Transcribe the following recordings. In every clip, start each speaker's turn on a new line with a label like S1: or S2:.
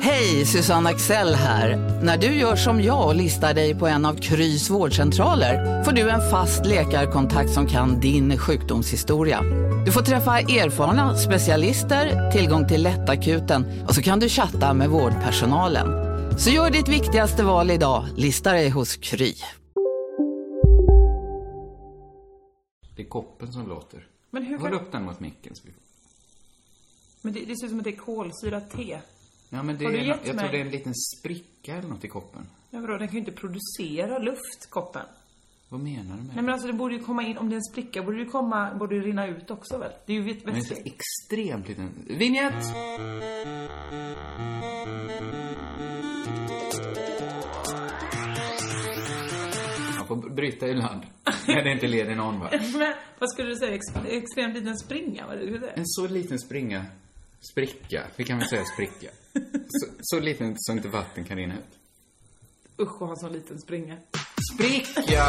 S1: Hej, Susanne Axel här. När du gör som jag och listar dig på en av Krys vårdcentraler får du en fast läkarkontakt som kan din sjukdomshistoria. Du får träffa erfarna specialister, tillgång till lättakuten och så kan du chatta med vårdpersonalen. Så gör ditt viktigaste val idag, listar dig hos Kry.
S2: Det är koppen som låter.
S3: Men hur
S2: Håll
S3: kan-
S2: upp den mot micken. Så vi...
S3: Men det, det ser ut som att det är kolsyrat te.
S2: ja, men det
S3: Har
S2: är,
S3: du
S2: en-
S3: gett
S2: Jag
S3: mig?
S2: tror det är en liten spricka eller något i koppen.
S3: Ja, vadå, den kan ju inte producera luft, koppen.
S2: Vad menar du med
S3: Nej
S2: det?
S3: men alltså det borde ju komma in, om det är en spricka borde det ju komma, borde det rinna ut också väl? Det är ju ett
S2: Den är så
S3: vätske.
S2: extremt liten. Vinjett! Man får bryta ibland. När det inte leder någon va?
S3: Men vad skulle du säga, Ex, extremt liten springa? Vad är det du säger?
S2: En så liten springa, spricka, vi kan väl säga spricka. Så, så liten så inte vatten kan rinna ut.
S3: Usch att ha en sån liten springa.
S2: Spricka!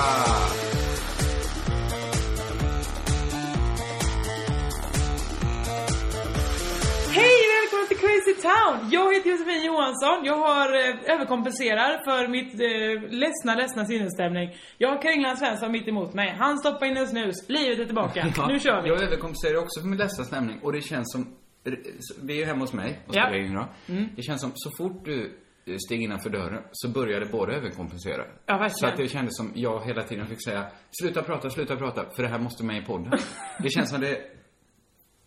S3: Hej välkommen till Crazy Town! Jag heter Josefin Johansson, jag har eh, överkompenserar för mitt eh, ledsna, ledsna sinnesstämning. Jag har Kringland Svensson mitt emot mig, han stoppar in en snus, livet är tillbaka. Nu kör vi!
S2: Jag överkompenserar också för min ledsna stämning och det känns som... Vi är ju hemma hos mig och
S3: Ja. Mm.
S2: spelar in idag. Det känns som så fort du eh, steg innanför dörren så började båda överkompensera.
S3: Ja, verkligen.
S2: Så att det kändes som jag hela tiden fick säga sluta prata, sluta prata för det här måste med i podden. det känns som det...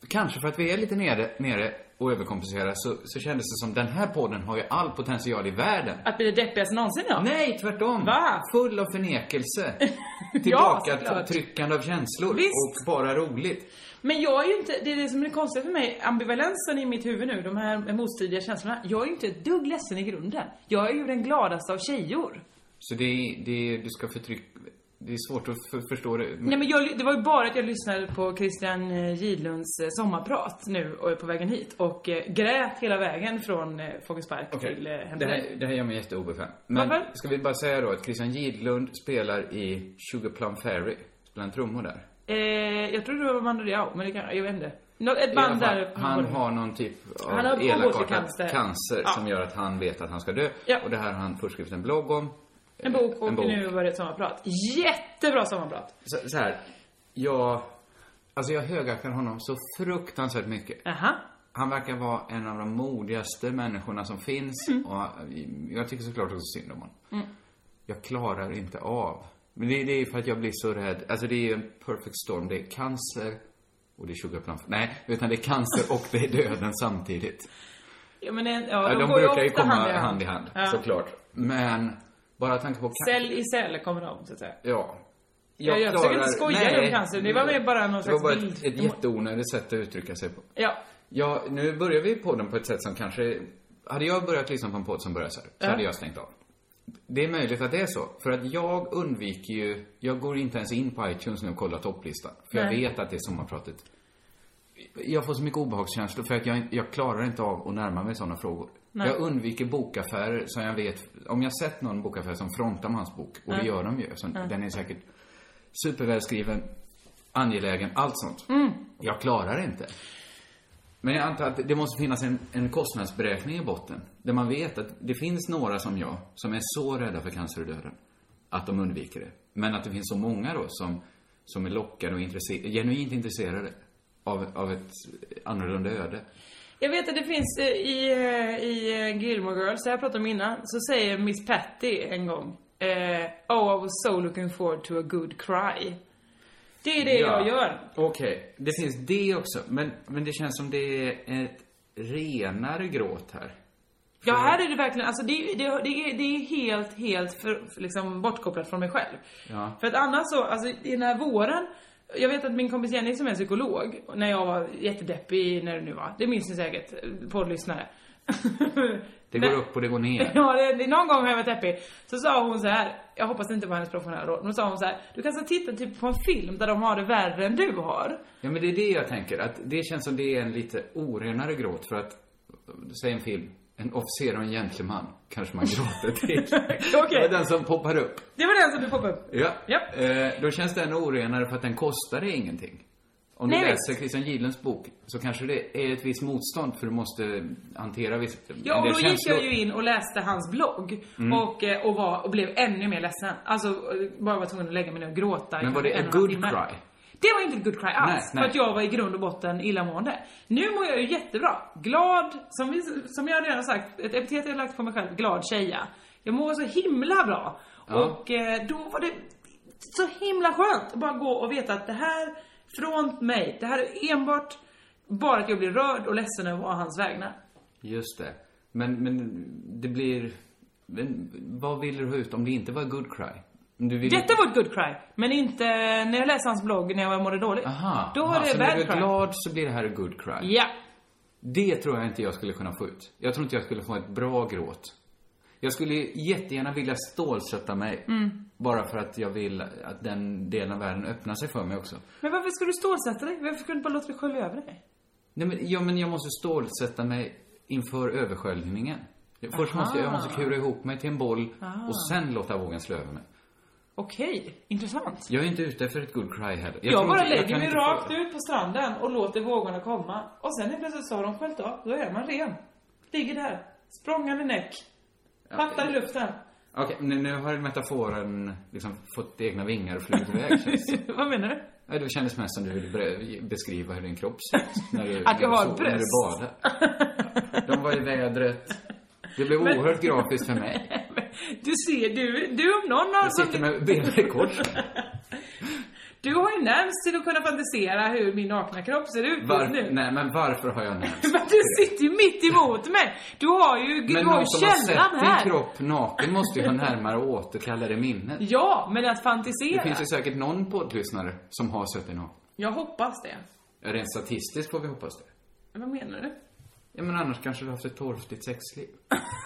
S2: Kanske för att vi är lite nere, nere och överkompenserar så, så kändes det som den här podden har ju all potential i världen.
S3: Att bli det deppigaste någonsin ja.
S2: Nej, tvärtom.
S3: Va?
S2: Full av förnekelse.
S3: Ja,
S2: Tillbaka
S3: såklart.
S2: tryckande av känslor.
S3: Visst.
S2: Och bara roligt.
S3: Men jag är ju inte, det är det som är konstigt för mig, ambivalensen i mitt huvud nu, de här motstridiga känslorna. Jag är ju inte ett dugg ledsen i grunden. Jag är ju den gladaste av
S2: Mm.
S3: tjejor.
S2: Så det är, det är, du ska förtrycka... Det är svårt att för, förstå det.
S3: Nej men jag, det var ju bara att jag lyssnade på Christian eh, Gidlunds eh, sommarprat nu och är på vägen hit och eh, grät hela vägen från eh, Folkets okay.
S2: Okej,
S3: till eh,
S2: det,
S3: Hemsedal.
S2: här, det här gör mig jätteobekväm. Men
S3: Varför?
S2: ska vi bara säga då att Christian Gidlund spelar i Sugar Plum Fairy. Spelar han trummor där?
S3: eh, Jag trodde det var Mando Diao, men det kan, jag vet inte. Nå, ett
S2: I alla
S3: band
S2: fall,
S3: där.
S2: Han har någon typ av
S3: Han har
S2: elakartad
S3: cancer.
S2: cancer
S3: Ja.
S2: som gör att han vet att han ska dö.
S3: Ja.
S2: Och det här har han först skrivit en blogg om.
S3: En bok och
S2: en bok.
S3: nu var det ett sommarprat. Jättebra sommarprat.
S2: så, så här, jag... Alltså jag högaktar honom så fruktansvärt mycket.
S3: Aha.
S2: Han verkar vara en av de modigaste människorna som finns.
S3: Mm.
S2: Och eh, jag tycker såklart också synd om honom. Jag klarar inte av. Men det, det är för att jag blir så rädd. Alltså det är ju en perfect storm. Det är cancer och det är sugar plum. Nej, utan det är cancer och det är döden samtidigt.
S3: Ja men en,
S2: Ja,
S3: ja,
S2: de
S3: går
S2: brukar ju
S3: ofta
S2: komma hand i hand, såklart. Men bara tanken på kan-
S3: Cell i cell kommer de, så att säga.
S2: Ja.
S3: Ja, jag försöker inte skoja
S2: Nej.
S3: om cancer. Det var mer bara någon
S2: Det var
S3: slags
S2: bara
S3: bild.
S2: ett, ett jätteonödigt sätt att uttrycka sig på.
S3: Ja.
S2: Ja, nu börjar vi podden på ett sätt som kanske... Hade jag börjat lyssna på en podd som börjar så här, så hade jag stängt av. Det är möjligt att det är så. För att jag undviker ju... Jag går inte ens in på iTunes nu och kollar topplistan. För
S3: Nej.
S2: jag vet att det är sommarpratet. Jag får så mycket obehagskänslor för att jag, jag klarar inte av att närma mig sådana frågor. Jag undviker bokaffärer som jag vet... Om jag sett någon bokaffär som frontar med hans bok, och det gör de ju eftersom den är säkert supervälskriven, angelägen, allt sånt. Jag klarar det inte. Men jag antar att det måste finnas en, en kostnadsberäkning i botten. Där man vet att det finns några som jag, som är så rädda för cancer och döden, att de undviker det. Men att det finns så många då som, som är lockade och intresse- genuint intresserade av, av ett annorlunda öde.
S3: Jag vet att det finns eh, i, eh, i eh, Gilmore Girls, det här pratade om innan, så säger Miss Patty en gång eh, Oh, I was so looking forward to a good cry. Det är det jag gör.
S2: Okej, det finns det också. Men, men det känns som det är ett renare gråt här.
S3: Ja, här är det verkligen, alltså det, det, det, är, det är helt, helt för, för liksom bortkopplat från mig själv.
S2: Ja.
S3: För att annars så, alltså i den här våren, jag vet att min kompis Jenny som är psykolog, när jag var jättedeppig, när det nu var, det minns ni säkert, poddlyssnare.
S2: Det går upp och det går ner.
S3: Ja, det, det, någon gång har jag varit deppig. Så sa hon så här, jag hoppas det inte var hennes professionella råd, men då sa hon så här, du kanske tittar typ på en film där de har det värre än du har.
S2: Ja, men det är det jag tänker. Att det känns som det är en lite orenare gråt för att, säg en film, en officer och en gentleman kanske man gråter till.
S3: Okej.
S2: Det är den som poppar upp.
S3: Det var den som du poppade upp.
S2: Ja.
S3: Japp.
S2: Eh, då känns den orenare för att den kostar dig ingenting. Om du
S3: Nej,
S2: läser Christian Gidlens bok så kanske det är ett visst motstånd för du måste hantera viss,
S3: Ja, och då gick jag ju in och läste hans blogg.
S2: Mm.
S3: Och, eh, och, var, och blev ännu mer ledsen. Alltså, eh, bara var tvungen att lägga mig ner och gråta. i
S2: Men var det
S3: en
S2: a
S3: och en halv
S2: good
S3: timme.
S2: cry?
S3: Det var inte ett good cry alls.
S2: Nej,
S3: för
S2: nej.
S3: att jag var i grund och botten illamående. Nu mår jag ju jättebra. Glad, som, vi, som jag redan sagt, ett epitet jag lagt på mig själv, glad tjeja. Jag mår så himla bra.
S2: Ja.
S3: Och eh, då var det så himla skönt att bara gå och veta att det här, från mig, det här är enbart bara att jag blir rörd och ledsen över vad hans vägnar.
S2: Just det. Men, men det blir... Men, vad vill du ha ut om det inte var good cry? Om Du vill
S3: Detta var ett good cry, men inte när jag läste hans blogg när jag mådde dåligt.
S2: Aha.
S3: Då var
S2: aha,
S3: det
S2: så när du
S3: bad
S2: är
S3: cry.
S2: glad så blir det här a good cry.
S3: Ja.
S2: Det tror jag inte jag skulle kunna få ut. Jag tror inte jag skulle få ett bra gråt. Jag skulle jättegärna vilja stålsätta mig.
S3: Mm.
S2: Bara för att jag vill att den delen av världen öppnar sig för mig också.
S3: Men varför ska du stålsätta dig? Varför ska du inte bara låta det skölja över dig?
S2: Nej, men, ja, men jag måste stålsätta mig inför översköljningen. Först måste jag, jag måste kura ihop mig till en boll och
S3: Ah.
S2: sen låta vågen slå över mig.
S3: Okej, intressant.
S2: Jag är inte ute efter ett good cry heller.
S3: Jag,
S2: tror
S3: bara
S2: inte- jag
S3: lägger
S2: kan
S3: mig
S2: inte
S3: rakt
S2: få-
S3: ut på stranden och låter vågorna komma. Och sen är plötsligt så har de sköljt av. Då är man ren. Ligger där. Språngande näck. Pattar i luften.
S2: Okej, nu, nu har metaforen liksom fått egna vingar och flugit iväg känns det.
S3: Vad menar du?
S2: Nej, det kändes mest som du ville bre- beskriva hur din kropp ser ut. När du,
S3: Att jag
S2: när
S3: har
S2: du sov-
S3: bröst.
S2: När du badade. De var i vädret. Det blev oerhört grafiskt för mig.
S3: Du ser, du, du om någon har...
S2: Jag sitter med benen i kors.
S3: Du har ju närmst till att kunna fantisera hur min nakna kropp ser ut
S2: Var,
S3: just nu.
S2: nej, men varför har jag nämnt
S3: Men du sitter ju mitt emot mig! Du har ju, du
S2: Men
S3: har ju
S2: någon som har
S3: källan
S2: sett din
S3: här!
S2: kropp naken måste ju ha närmare att återkalla det minnet.
S3: Ja, men att
S2: Det
S3: fantisera.
S2: finns ju säkert någon poddlyssnare som har sett dig naken.
S3: Jag hoppas det.
S2: Rent statistiskt får vi hoppas det.
S3: Vad menar du?
S2: Ja, men annars kanske du har haft ett torftigt sexliv.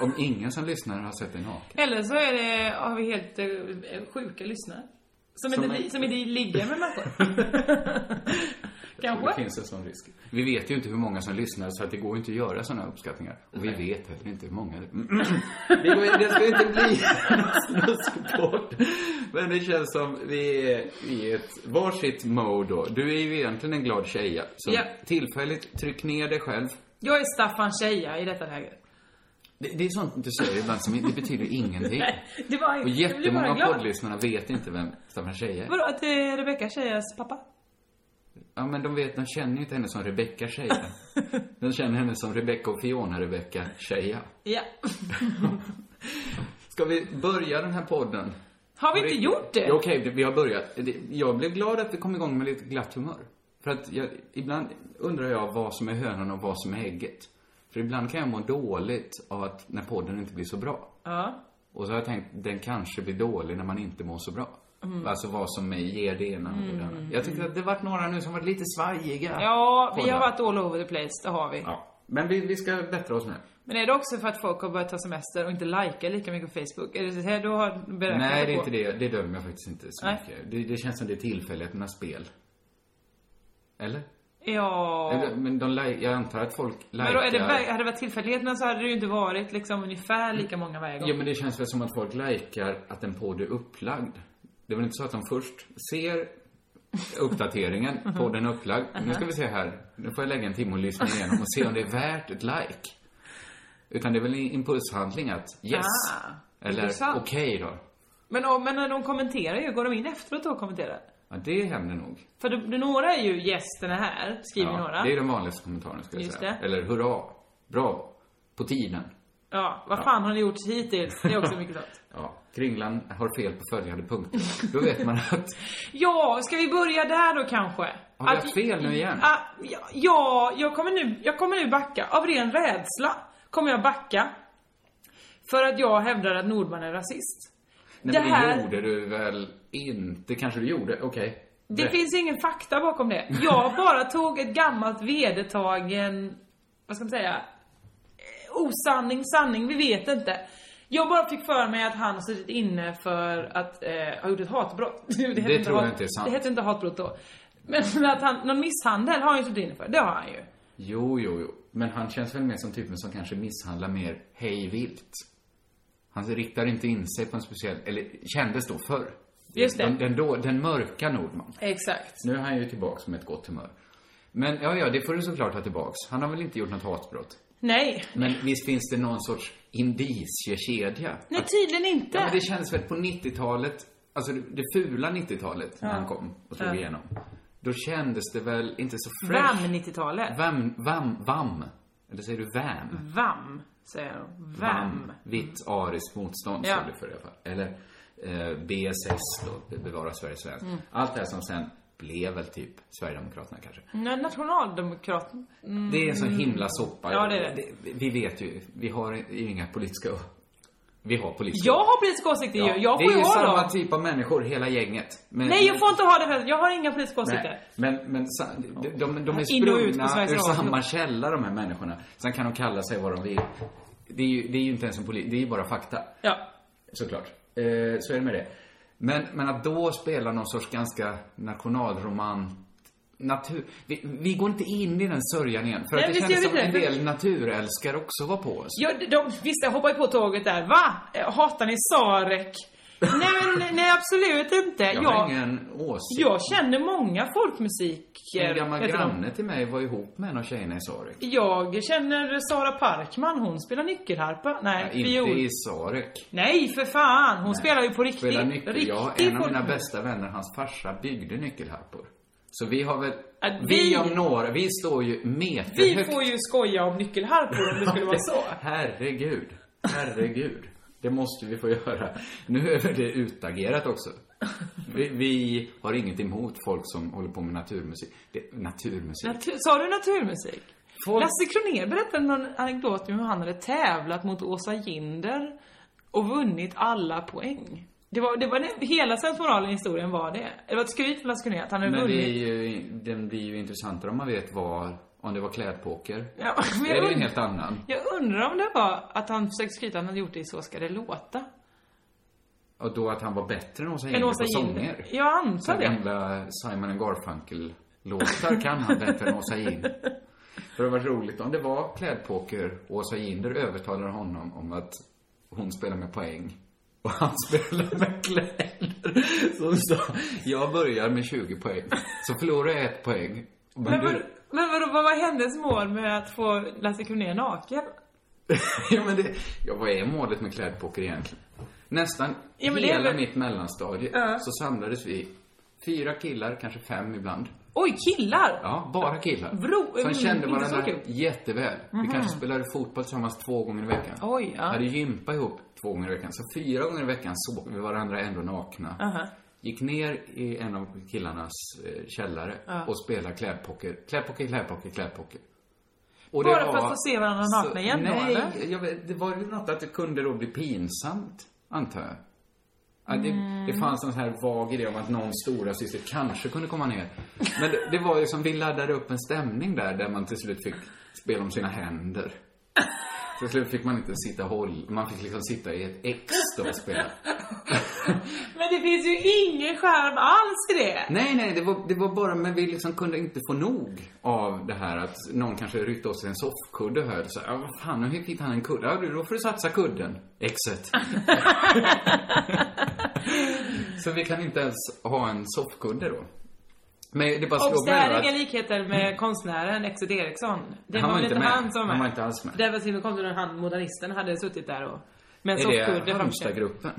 S2: Om ingen som lyssnar har sett dig naken.
S3: Eller så är det, har vi helt eh, sjuka lyssnare. Som,
S2: Som
S3: inte,
S2: är-
S3: som inte ligger med människor.
S2: Det
S3: Kanske.
S2: finns en sån risk. Vi vet ju inte hur många som lyssnar så att det går ju inte att göra såna uppskattningar. Och vi vet heller inte hur många Mm. det... det, går, det ska inte bli snuskpodd. Men det känns som vi är i ett varsitt mode då. Du är ju egentligen en glad tjeja. Så
S3: Ja.
S2: tillfälligt tryck ner dig själv.
S3: Jag är Staffan Tjeja i detta läget.
S2: Det, det är sånt du säger ibland som det betyder ingenting.
S3: Det var
S2: Och
S3: jag blir bara
S2: jättemånga
S3: glad.
S2: poddlyssnarna vet inte vem Staffan Tjeje är.
S3: Vadå, att det är Rebecka Tjejas pappa?
S2: Ja, men de vet, de känner ju inte henne som Rebecca Tjeja. De känner henne som Rebecca och Fiona Rebecca Tjeja.
S3: Ja.
S2: Ska vi börja den här podden?
S3: Har vi inte gjort det?
S2: Ja, Okej, vi har börjat. Det- Jag blev glad att vi kom igång med lite glatt humör. För att jag, ibland undrar jag vad som är hönan och vad som är ägget. För ibland kan jag må dåligt av att när podden inte blir så bra.
S3: Ja.
S2: Och så har jag tänkt, den kanske blir dålig när man inte mår så bra.
S3: Mm.
S2: Alltså vad som ger det ena och det andra. Jag tyckte att det varit några nu som varit lite svajiga.
S3: Ja, vi
S2: poddar.
S3: har varit all over the place, det har vi.
S2: Ja. Men vi, vi ska bättra oss nu.
S3: Men är det också för att folk har börjat ta semester och inte likar lika mycket på Facebook? Är det så här du har beräknat
S2: Nej, det är
S3: på?
S2: inte det. Det dömer jag faktiskt inte så
S3: Nej.
S2: mycket. Det, det känns som det är tillfälligheternas spel. Eller?
S3: Ja.
S2: Eller, Men de li- jag antar att folk likar...
S3: Men då är det, ver- hade det varit tillfälligheterna så hade det ju inte varit liksom ungefär lika många varje gång.
S2: Ja, men det känns väl som att folk likar att en podd är upplagd. Det är väl inte så att de först ser uppdateringen,
S3: Mhm.
S2: podden är upplagd. Nu ska vi se här. Nu får jag lägga en timme och lyssna igenom och se om det är värt ett like. Utan det är väl en impulshandling att yes.
S3: Ah,
S2: eller
S3: intressant.
S2: okej då.
S3: Men, om- men när de kommenterar ju, går de in efteråt och kommenterar?
S2: Ja, det händer nog.
S3: För det, det, några är ju 'Yes, den är här' skriver några.
S2: Det är den vanligaste kommentaren skulle jag
S3: Just
S2: säga.
S3: det.
S2: Eller hurra, bra, på tiden.
S3: Ja, vad fan har ni gjort hittills? Det är också mycket sånt.
S2: Ja, Kringlan har fel på följande punkter. Då vet man att
S3: Ja, ska vi börja där då kanske?
S2: Har vi haft fel nu igen?
S3: Ah, ja, ja, jag kommer nu, jag kommer nu backa. Av ren rädsla kommer jag backa. För att jag hävdar att Nordman är rasist.
S2: nej,
S3: Det
S2: det, men det
S3: här-
S2: gjorde du väl inte? kanske du gjorde? Okej.
S3: Det
S2: Rätt.
S3: finns ingen fakta bakom det. Jag bara tog ett gammalt vedertagen, vad ska man säga, eh, osanning, sanning, vi vet inte. Jag bara fick för mig att han har suttit inne för att eh, ha gjort ett hatbrott. Det, heter
S2: tror jag
S3: hat-
S2: inte är sant.
S3: Det heter inte hatbrott då. Men att han, någon misshandel har han ju suttit inne för, det har han ju.
S2: Jo, jo, jo. Men han känns väl mer som typen som kanske misshandlar mer hej vilt. Han riktar inte in sig på en speciell, eller kändes då förr.
S3: Just det.
S2: Den, den, då, den mörka Nordman.
S3: Exakt.
S2: Nu är han ju tillbaks med ett gott humör. Men ja, ja, det får du såklart ha tillbaks. Han har väl inte gjort något hatbrott?
S3: Nej.
S2: Men visst finns det någon sorts indiciekedja?
S3: Nej,
S2: Att-
S3: tydligen inte.
S2: Ja, men det känns väl på 90-talet, alltså det, det fula 90-talet när han kom och slog igenom. Då kändes det väl inte så fresh.
S3: Vam 90-talet.
S2: Vam, vam, vam. Eller säger du vam?
S3: Vam, säger de. Vam.
S2: Vitt ariskt motstånd,
S3: Ja.
S2: ja. det för i alla fall. Eller eh, BSS då, Bevara Sverige svenskt.
S3: Mm.
S2: Allt det här som sen blev väl typ Sverigedemokraterna kanske.
S3: Nej, Nationaldemokraten.
S2: Det är en sån himla soppa.
S3: Mm. Ja, det är det.
S2: Vi vet ju, vi har ju inga politiska... Vi har politiska...
S3: Jag har politiska åsikter ju. Jag får
S2: det är
S3: ju
S2: ju
S3: ha
S2: samma
S3: dem.
S2: typ av människor, hela gänget. Men,
S3: Nej, jag får inte ha det för jag har inga politiska
S2: Nej,
S3: åsikter.
S2: men, men sa- de, de, de är
S3: In och ut på
S2: sprungna
S3: Sveriges
S2: ur
S3: Radio.
S2: samma källa de här människorna. Sen kan de kalla sig vad de vill. Det är ju, det är ju inte ens en polit, det är ju bara fakta.
S3: Ja.
S2: Såklart. Eh, så är det med det. Men, men att då spela någon sorts ganska nationalroman Natur. Vi, vi går inte in i den sörjan igen. För
S3: Nej,
S2: att det
S3: visst
S2: känns
S3: gör
S2: som
S3: vi
S2: en
S3: inte.
S2: del naturälskare också var på oss.
S3: Ja, de, visst, jag hoppar ju på tåget där. Va? Eh, Hatar ni Sarek? nej, men, nej, absolut inte.
S2: Jag
S3: Jag,
S2: har
S3: jag,
S2: ingen åsikt.
S3: känner många folkmusiker.
S2: en gammal
S3: heter de.
S2: granne till mig var ihop med en av tjejerna i Sarek.
S3: Jag känner Sara Parkman, hon spelar nyckelharpa. Nej,
S2: Ja,
S3: fiol.
S2: inte i Sarek.
S3: Nej, för fan! Hon spelar ju på riktigt.
S2: Spela nyckel.
S3: riktig
S2: Jag har en av mina
S3: folkmusik.
S2: bästa vänner, hans farsa, byggde nyckelharpor. Så vi har väl,
S3: Att
S2: vi,
S3: vi-
S2: om några, vi står ju meterhögt.
S3: Vi får ju skoja om nyckelharpor om det skulle vara så.
S2: Herregud. Herregud. Det måste vi få göra. Nu är det utagerat också. Vi, vi har inget emot folk som håller på med naturmusik. Det, naturmusik.
S3: Natur, sa du naturmusik?
S2: Folk-
S3: Lasse Kronér berättade någon anekdot om hur han hade tävlat mot Åsa Ginder och vunnit alla poäng. Det var, det var det, hela sensmoralen i historien var det. Det var ett skryt för Lasse Kronér att han hade
S2: Men det är
S3: vunnit.
S2: ju, den blir ju intressantare om man vet vad, om det var klädpoker.
S3: Ja, men
S2: Det är
S3: jag,
S2: ju en
S3: und,
S2: helt annan.
S3: jag undrar om det var att han försökte skryta att han hade gjort det i Så ska det låta.
S2: Och då att han var bättre än Åsa
S3: Än
S2: Ginder
S3: Åsa
S2: på
S3: Ginder.
S2: sånger.
S3: Jag
S2: Så
S3: antar det.
S2: gamla Simon and Garfunkel-låtar kan han bättre än Åsa Ginder. För det var roligt om det var klädpoker och Åsa Ginder övertalade honom om att hon spelar med poäng och han spelar med kläder. Så hon sa, jag börjar med 20 poäng. Så förlorar jag ett poäng. Men,
S3: Men, vad,
S2: du...
S3: men vadå, vad var hennes mål med att få Lasse Kronér naken?
S2: ja, men det... ja, vad är målet med klädpoker egentligen? Nästan
S3: Ja, men det är
S2: hela
S3: väl-
S2: mitt mellanstadie
S3: Ja.
S2: så samlades vi, fyra killar, kanske fem ibland.
S3: Oj, killar!
S2: Ja, bara killar.
S3: Bro-
S2: som
S3: mm,
S2: kände
S3: inte så
S2: varandra
S3: kul. Mhm.
S2: jätteväl. Vi kanske spelade fotboll tillsammans två gånger i veckan.
S3: Oj, ja.
S2: Hade gympa ihop två gånger i veckan. Så fyra gånger i veckan såg vi varandra ändå nakna. Gick ner i en av killarnas eh, källare och spelade klädpoker. Klädpoker, klädpoker, klädpoker. Och
S3: Bara för att få se varandra nakna igen då,
S2: Nej,
S3: eller?
S2: jag vet, det var ju något att det kunde då bli pinsamt, antar jag. Ja, det,
S3: Mm.
S2: det fanns en sån här vag idé om att någon stora syster kanske kunde komma ner. Men det, det var ju som vi laddade upp en stämning där, där man till slut fick spela om sina händer. Till slut fick man inte sitta håll, man fick liksom sitta i ett X då och spela.
S3: Men det finns ju ingen skärm alls i det!
S2: Nej, nej, det var, det var bara, men vi liksom kunde inte få nog av det här att någon kanske ryckte åt sig en soffkudde och höll så här, "Ja, vad fan, hur fick han en kudde? Ja, du, då får du satsa kudden. Exet. så vi kan inte ens ha en soffkudde då. Men det bara slog
S3: Och
S2: mig
S3: där
S2: över
S3: är
S2: att Mm.
S3: inga likheter med konstnären Exit Eriksson. Det
S2: Han
S3: var
S2: var
S3: väl
S2: inte
S3: inte
S2: med.
S3: han som var
S2: Han
S3: med.
S2: var inte alls med.
S3: Det var till och med när han, modernisten, hade suttit där och... Med en
S2: är det
S3: soffkudde framför
S2: Halmstadgruppen?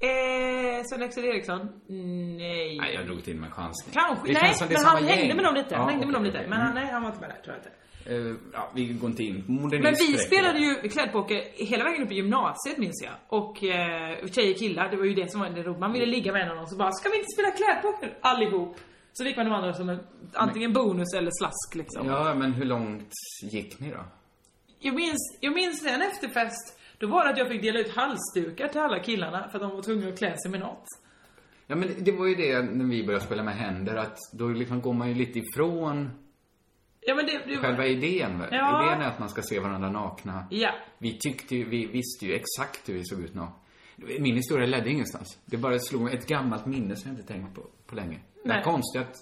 S3: Eh, Sven Exit Eriksson? Nej.
S2: Nej, jag drog till med en chansning.
S3: Kanske,
S2: Det
S3: nej,
S2: känns som det är
S3: men
S2: samma
S3: han hängde
S2: gäng.
S3: med dem lite.
S2: Ja,
S3: han hängde med
S2: okej,
S3: dem lite.
S2: okej. Mm.
S3: Men han, nej, han var inte med där, tror jag inte.
S2: Eh, ja, vi går inte in. Modernist
S3: Men vi
S2: direkt.
S3: spelade ju klädpoker hela vägen upp i gymnasiet minns jag. Och eh, tjejer och killar, det var ju det som var det roliga. Man ville ligga med en av dem så bara, ska vi inte spela klädpoker allihop? Så fick man de andra som en, antingen bonus eller slask liksom.
S2: Ja, men hur långt gick ni då?
S3: Jag minns, jag minns en efterfest, då var det att jag fick dela ut halsdukar till alla killarna för att de var tvungna att klä sig med något.
S2: Ja, men det var ju det när vi började spela med händer, att då liksom går man ju lite ifrån
S3: Ja, men det... det
S2: Själva idén väl?
S3: Ja.
S2: Idén är att man ska se varandra nakna.
S3: Ja.
S2: Vi tyckte ju, vi visste ju exakt hur vi såg ut nakna. Min historia ledde ingenstans. Det bara slog mig ett gammalt minne som jag inte tänkt på på länge. Det är
S3: Nej.
S2: konstigt att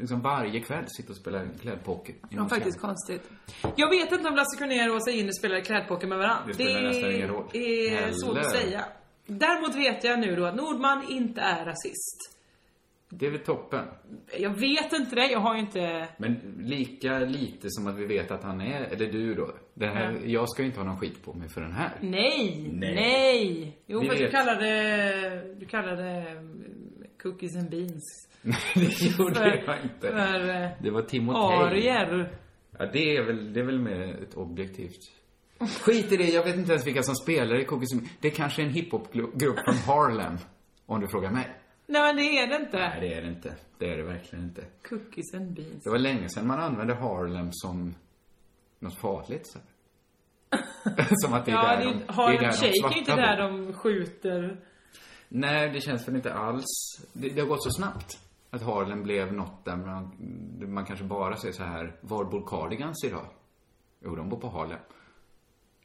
S2: liksom varje kväll sitta och spela klädpoker. i
S3: Det var
S2: någons
S3: faktiskt
S2: hem.
S3: konstigt. Jag vet inte om Lasse Kronér och Åsa Inner spelade klädpoker med varandra.
S2: Det spelar nästan ingen roll.
S3: är svårt att
S2: Eller?
S3: säga. Däremot vet jag nu då att Nordman inte är rasist.
S2: Det är väl toppen.
S3: Jag vet inte det, jag har ju inte...
S2: Men lika lite som att vi vet att han är, eller du då. Det här, Jag ska ju inte ha någon skit på mig för den här.
S3: Nej! Nej! Jo,
S2: Vi
S3: för du
S2: vet.
S3: kallade... Du kallade... eh, Cookies and beans.
S2: Nej, det gjorde jag inte.
S3: För... eh,
S2: Det var Timotej.
S3: Arier.
S2: Ja, det är väl, det är väl mer ett objektivt. Skit i det, jag vet inte ens vilka som spelar i Cookies and- Det är kanske är en hiphopgrupp från Harlem, om du frågar mig.
S3: Nej men det är det inte.
S2: Nej, det är det inte. Det är det verkligen inte.
S3: Cookies and beans.
S2: Det var länge sedan man använde Harlem som något farligt. Så. här. som att det är
S3: Ja,
S2: där
S3: det
S2: de,
S3: är, har
S2: där
S3: en tjej
S2: svarta
S3: är inte
S2: bor.
S3: där de skjuter.
S2: Nej, det känns väl inte alls. Det, det har gått så snabbt. Att Harlem blev något där man, man kanske bara säger så här, var bor Cardigans idag? Jo, de bor på Harlem.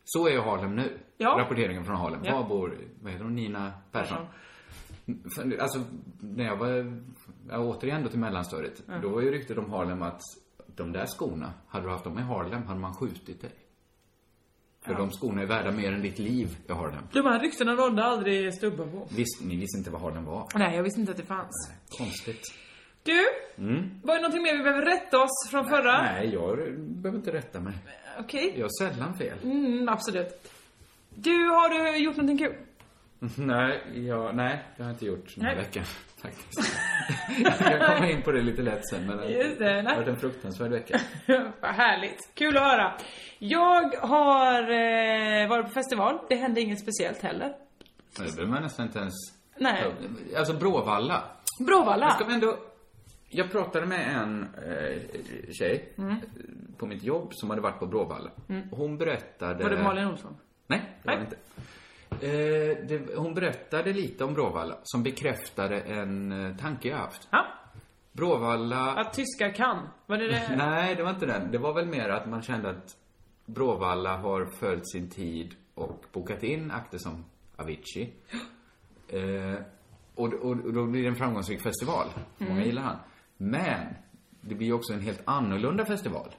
S2: Så är ju Harlem nu.
S3: Ja.
S2: Rapporteringen från Harlem.
S3: Ja.
S2: Var bor, vad heter hon, Nina Persson? För- Alltså, när jag var, jag återigen då till mellanstadiet. Då var ju ryktet om Harlem att de där skorna, hade du haft dem i Harlem hade man skjutit dig. För de skorna är värda mer än ditt liv i Harlem.
S3: De här ryktena nådde aldrig stubben på.
S2: Visst, ni visste inte vad Harlem var.
S3: Nej, jag visste inte att det fanns.
S2: Konstigt.
S3: Du, var det någonting mer vi behöver rätta oss från förra?
S2: Mm. Nej, jag behöver inte rätta mig.
S3: Okej.
S2: Jag har sällan fel.
S3: Mm, absolut. Du, har du gjort någonting kul?
S2: Nej, jag, nej, det har jag inte gjort den här
S3: Mm. Nej.
S2: veckan. Faktiskt. jag kommer in på det lite lätt sen, men
S3: Just det, nej.
S2: har varit en fruktansvärd vecka.
S3: Vad härligt. Kul att höra. Jag har eh, varit på festival. Det hände inget speciellt heller.
S2: Det behöver man nästan inte ens...
S3: Nej. Ah.
S2: Alltså, Bråvalla.
S3: Bråvalla.
S2: Jag ska ändå... Jag pratade med en eh, tjej
S3: Mm.
S2: på mitt jobb som hade varit på Bråvalla. Hon berättade...
S3: Var det Malin Olsson?
S2: Nej, det var det
S3: Nej.
S2: inte. Eh, det, hon berättade lite om Bråvalla som bekräftade en eh, tanke jag haft.
S3: Ja.
S2: Bråvalla...
S3: Att tyskar kan. Var det det?
S2: Nej, det var inte den. Det var väl mer att man kände att Bråvalla har följt sin tid och bokat in akter som Avicii. Eh, och, och, och då blir det en framgångsrik festival. Många gillar han. Men det blir ju också en helt annorlunda festival.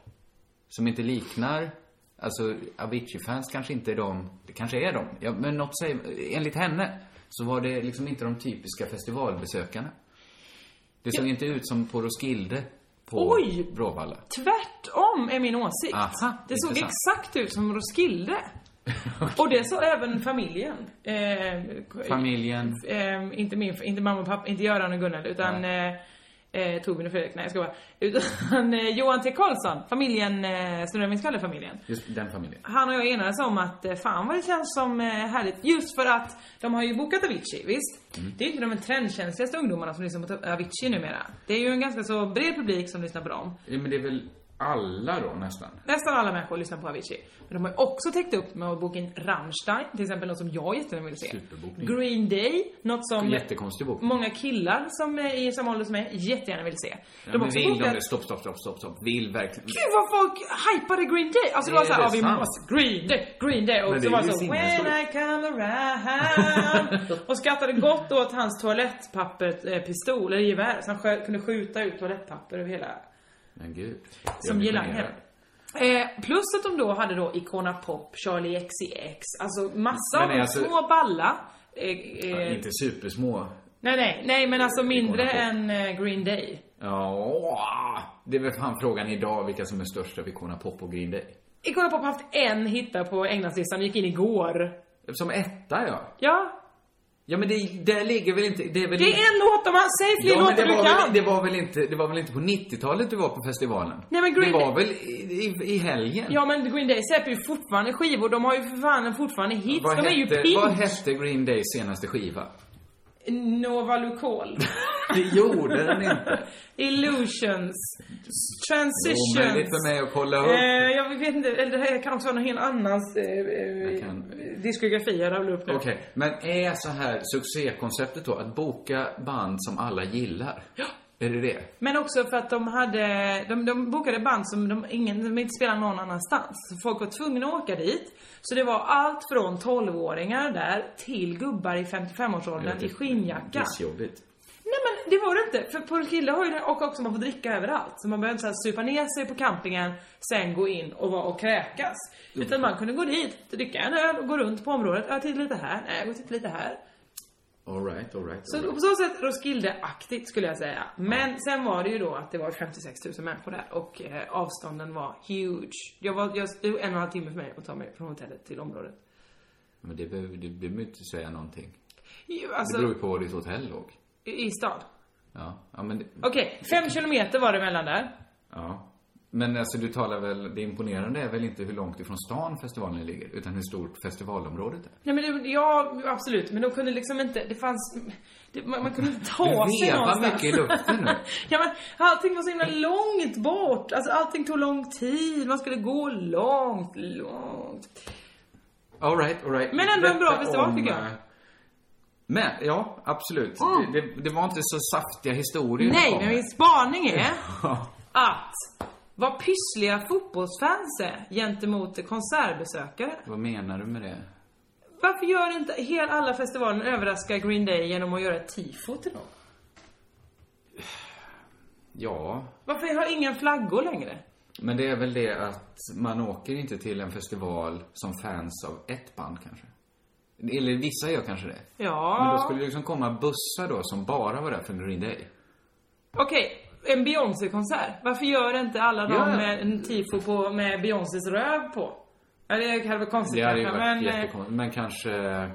S2: Som inte liknar... Alltså, Avicii-fans kanske inte är de... Det kanske är de. Ja, men något säger... Enligt henne så var det liksom inte de typiska festivalbesökarna. Det såg inte ut som på Roskilde på
S3: Oj!
S2: Bråvalla.
S3: Tvärtom är min åsikt.
S2: Aha,
S3: det såg
S2: intressant.
S3: exakt ut som Roskilde. Och det såg även familjen. Eh,
S2: Familjen...
S3: eh, inte, min, inte mamma och pappa, inte Göran och Gunnel, utan eh, eh, Torbjörn och Fredrik. Nej, jag ska bara. Utan eh, Johan T. Karlsson, familjen, eh, Snurra min skalle-familjen.
S2: Just den familjen.
S3: Han och jag enades om att eh, fan vad det känns som eh, härligt. Just för att de har ju bokat Avicii, visst?
S2: Mm.
S3: Det är ju inte de trendkänsligaste ungdomarna som lyssnar på Avicii numera. Det är ju en ganska så bred publik som lyssnar på dem.
S2: Ja, men det är väl alla då nästan?
S3: Nästan alla människor lyssnar på Avicii. Men de har ju också täckt upp med att boka in Rammstein, till exempel något som jag jättegärna vill se.
S2: Superbokning.
S3: Green Day, något som
S2: Jättekonstig bok.
S3: många killar som är i samma ålder som mig jättegärna vill se.
S2: Ja,
S3: de
S2: men
S3: har också
S2: vill de
S3: bokat...
S2: det? Stopp, stopp, stopp, stopp, stopp. Vill verkligen...
S3: Gud vad folk hypade Green Day! Alltså det
S2: Är
S3: var såhär,
S2: det
S3: ja vi
S2: sant?
S3: måste, Green Day, Green Day!
S2: Men
S3: Och
S2: det
S3: så
S2: är
S3: var det
S2: ju
S3: så,
S2: sinnessjukt.
S3: when I come around Och skrattade gott åt hans toalettpapper, eh, pistol, eller gevär, så han skö- kunde skjuta ut toalettpapper över hela
S2: Men gud. Jag
S3: som
S2: är
S3: girlanger.
S2: imponerad.
S3: Eh, plus att de då hade då Icona Pop, Charlie XCX, alltså massa av
S2: Men
S3: de
S2: alltså-
S3: små balla. Eh,
S2: Ja,
S3: eh,
S2: inte supersmå.
S3: nej, nej, nej men alltså mindre
S2: Icona
S3: än eh, Green Day.
S2: Ja, åh. det är väl fan frågan idag vilka som är största av Icona Pop och Green Day.
S3: Icona Pop har haft en hitta på Englandslistan, gick in igår.
S2: Som etta, ja.
S3: Ja,
S2: Ja, men det, det ligger väl inte... Det är väl
S3: det är en låt de har, säg fler
S2: Ja, men
S3: låtar
S2: det,
S3: du
S2: var
S3: kan!
S2: väl, det, var väl inte, det var väl inte på 90-talet du var på festivalen?
S3: Nej, men Green
S2: det
S3: Day-
S2: var väl i, i, i helgen?
S3: Ja men Green Day släpper ju fortfarande skivor, de har ju för fan fortfarande hits,
S2: vad,
S3: de är ju
S2: hette, vad
S3: pink!
S2: hette Green Days senaste skiva?
S3: Nova Lucol.
S2: Det gjorde den inte.
S3: Illusions. Transitions.
S2: Omöjligt för mig att kolla upp.
S3: Eh, jag vet inte, eller det här kan också vara någon helt annans eh, eh,
S2: kan-
S3: diskografi jag rabblar upp nu.
S2: Okej, men är så här succékonceptet då att boka band som alla gillar? Är det det?
S3: Men också för att de hade, de, de bokade band som de, ingen, de inte spelar någon annanstans. Så Folk var tvungna att åka dit. Så det var allt från 12-åringar där till gubbar i 55-årsåldern i skinnjacka.
S2: Pissjobbigt.
S3: Nej men det var det inte. För på Kille har ju det, och också man får dricka överallt. Så man behöver inte så här supa ner sig på campingen, sen gå in och vara och kräkas. Utan man kunde gå dit, dricka en öl och gå runt på området. Jag tittar lite här, nej jag går och tittar lite här.
S2: Alright, alright.
S3: Så på så sätt Roskilde-aktigt skulle jag säga. Men sen var det ju då att det var 56 000 människor där och eh, avstånden var huge. Jag var, jag, det var en och en halv timme för mig att ta mig från hotellet till området.
S2: Men det behöver, det behöver inte säga någonting.
S3: Ju,
S2: Det beror
S3: Alltså,
S2: ju på var ditt hotell låg.
S3: i, i stad.
S2: Ja, ja men... det-
S3: Okej, fem kilometer var det mellan där.
S2: Ja. Men alltså du talar väl, det imponerande är väl inte hur långt ifrån stan festivalen ligger, utan hur stort festivalområdet är.
S3: Nej men det, ja, absolut. Men de kunde liksom inte, det fanns, det, man, man kunde inte ta
S2: Du
S3: sig
S2: vevar
S3: någonstans.
S2: mycket i luften nu.
S3: ja men allting var så himla långt bort. Alltså allting tog lång tid. Man skulle gå långt, långt.
S2: Alright, alright.
S3: Men ändå en bra
S2: Berätta
S3: festival,
S2: om,
S3: tycker jag.
S2: eh, Men, ja, absolut.
S3: Mm.
S2: Det, det, det var inte så saftiga historier du
S3: Nej,
S2: kom
S3: men
S2: med.
S3: min spaning är att vad pyssliga fotbollsfans är gentemot konsertbesökare.
S2: Vad menar du med det?
S3: Varför gör inte hela alla festivalen överraska Green Day genom att göra ett tifo till dem?
S2: Ja,
S3: Varför har ingen flaggor längre?
S2: men det är väl det att man åker inte till en festival som fans av ett band kanske. Eller vissa gör kanske det.
S3: Ja.
S2: Men då skulle det liksom komma bussar då som bara var där för Green Day.
S3: Okej, en Beyoncé-konsert. Varför gör inte alla
S2: Ja.
S3: dem med en tifo på, med Beyoncés röv på? Ja, det hade varit konstigt
S2: Det hade ju
S3: kanske,
S2: varit
S3: men, eh,
S2: jättekonstigt. Men kanske eh,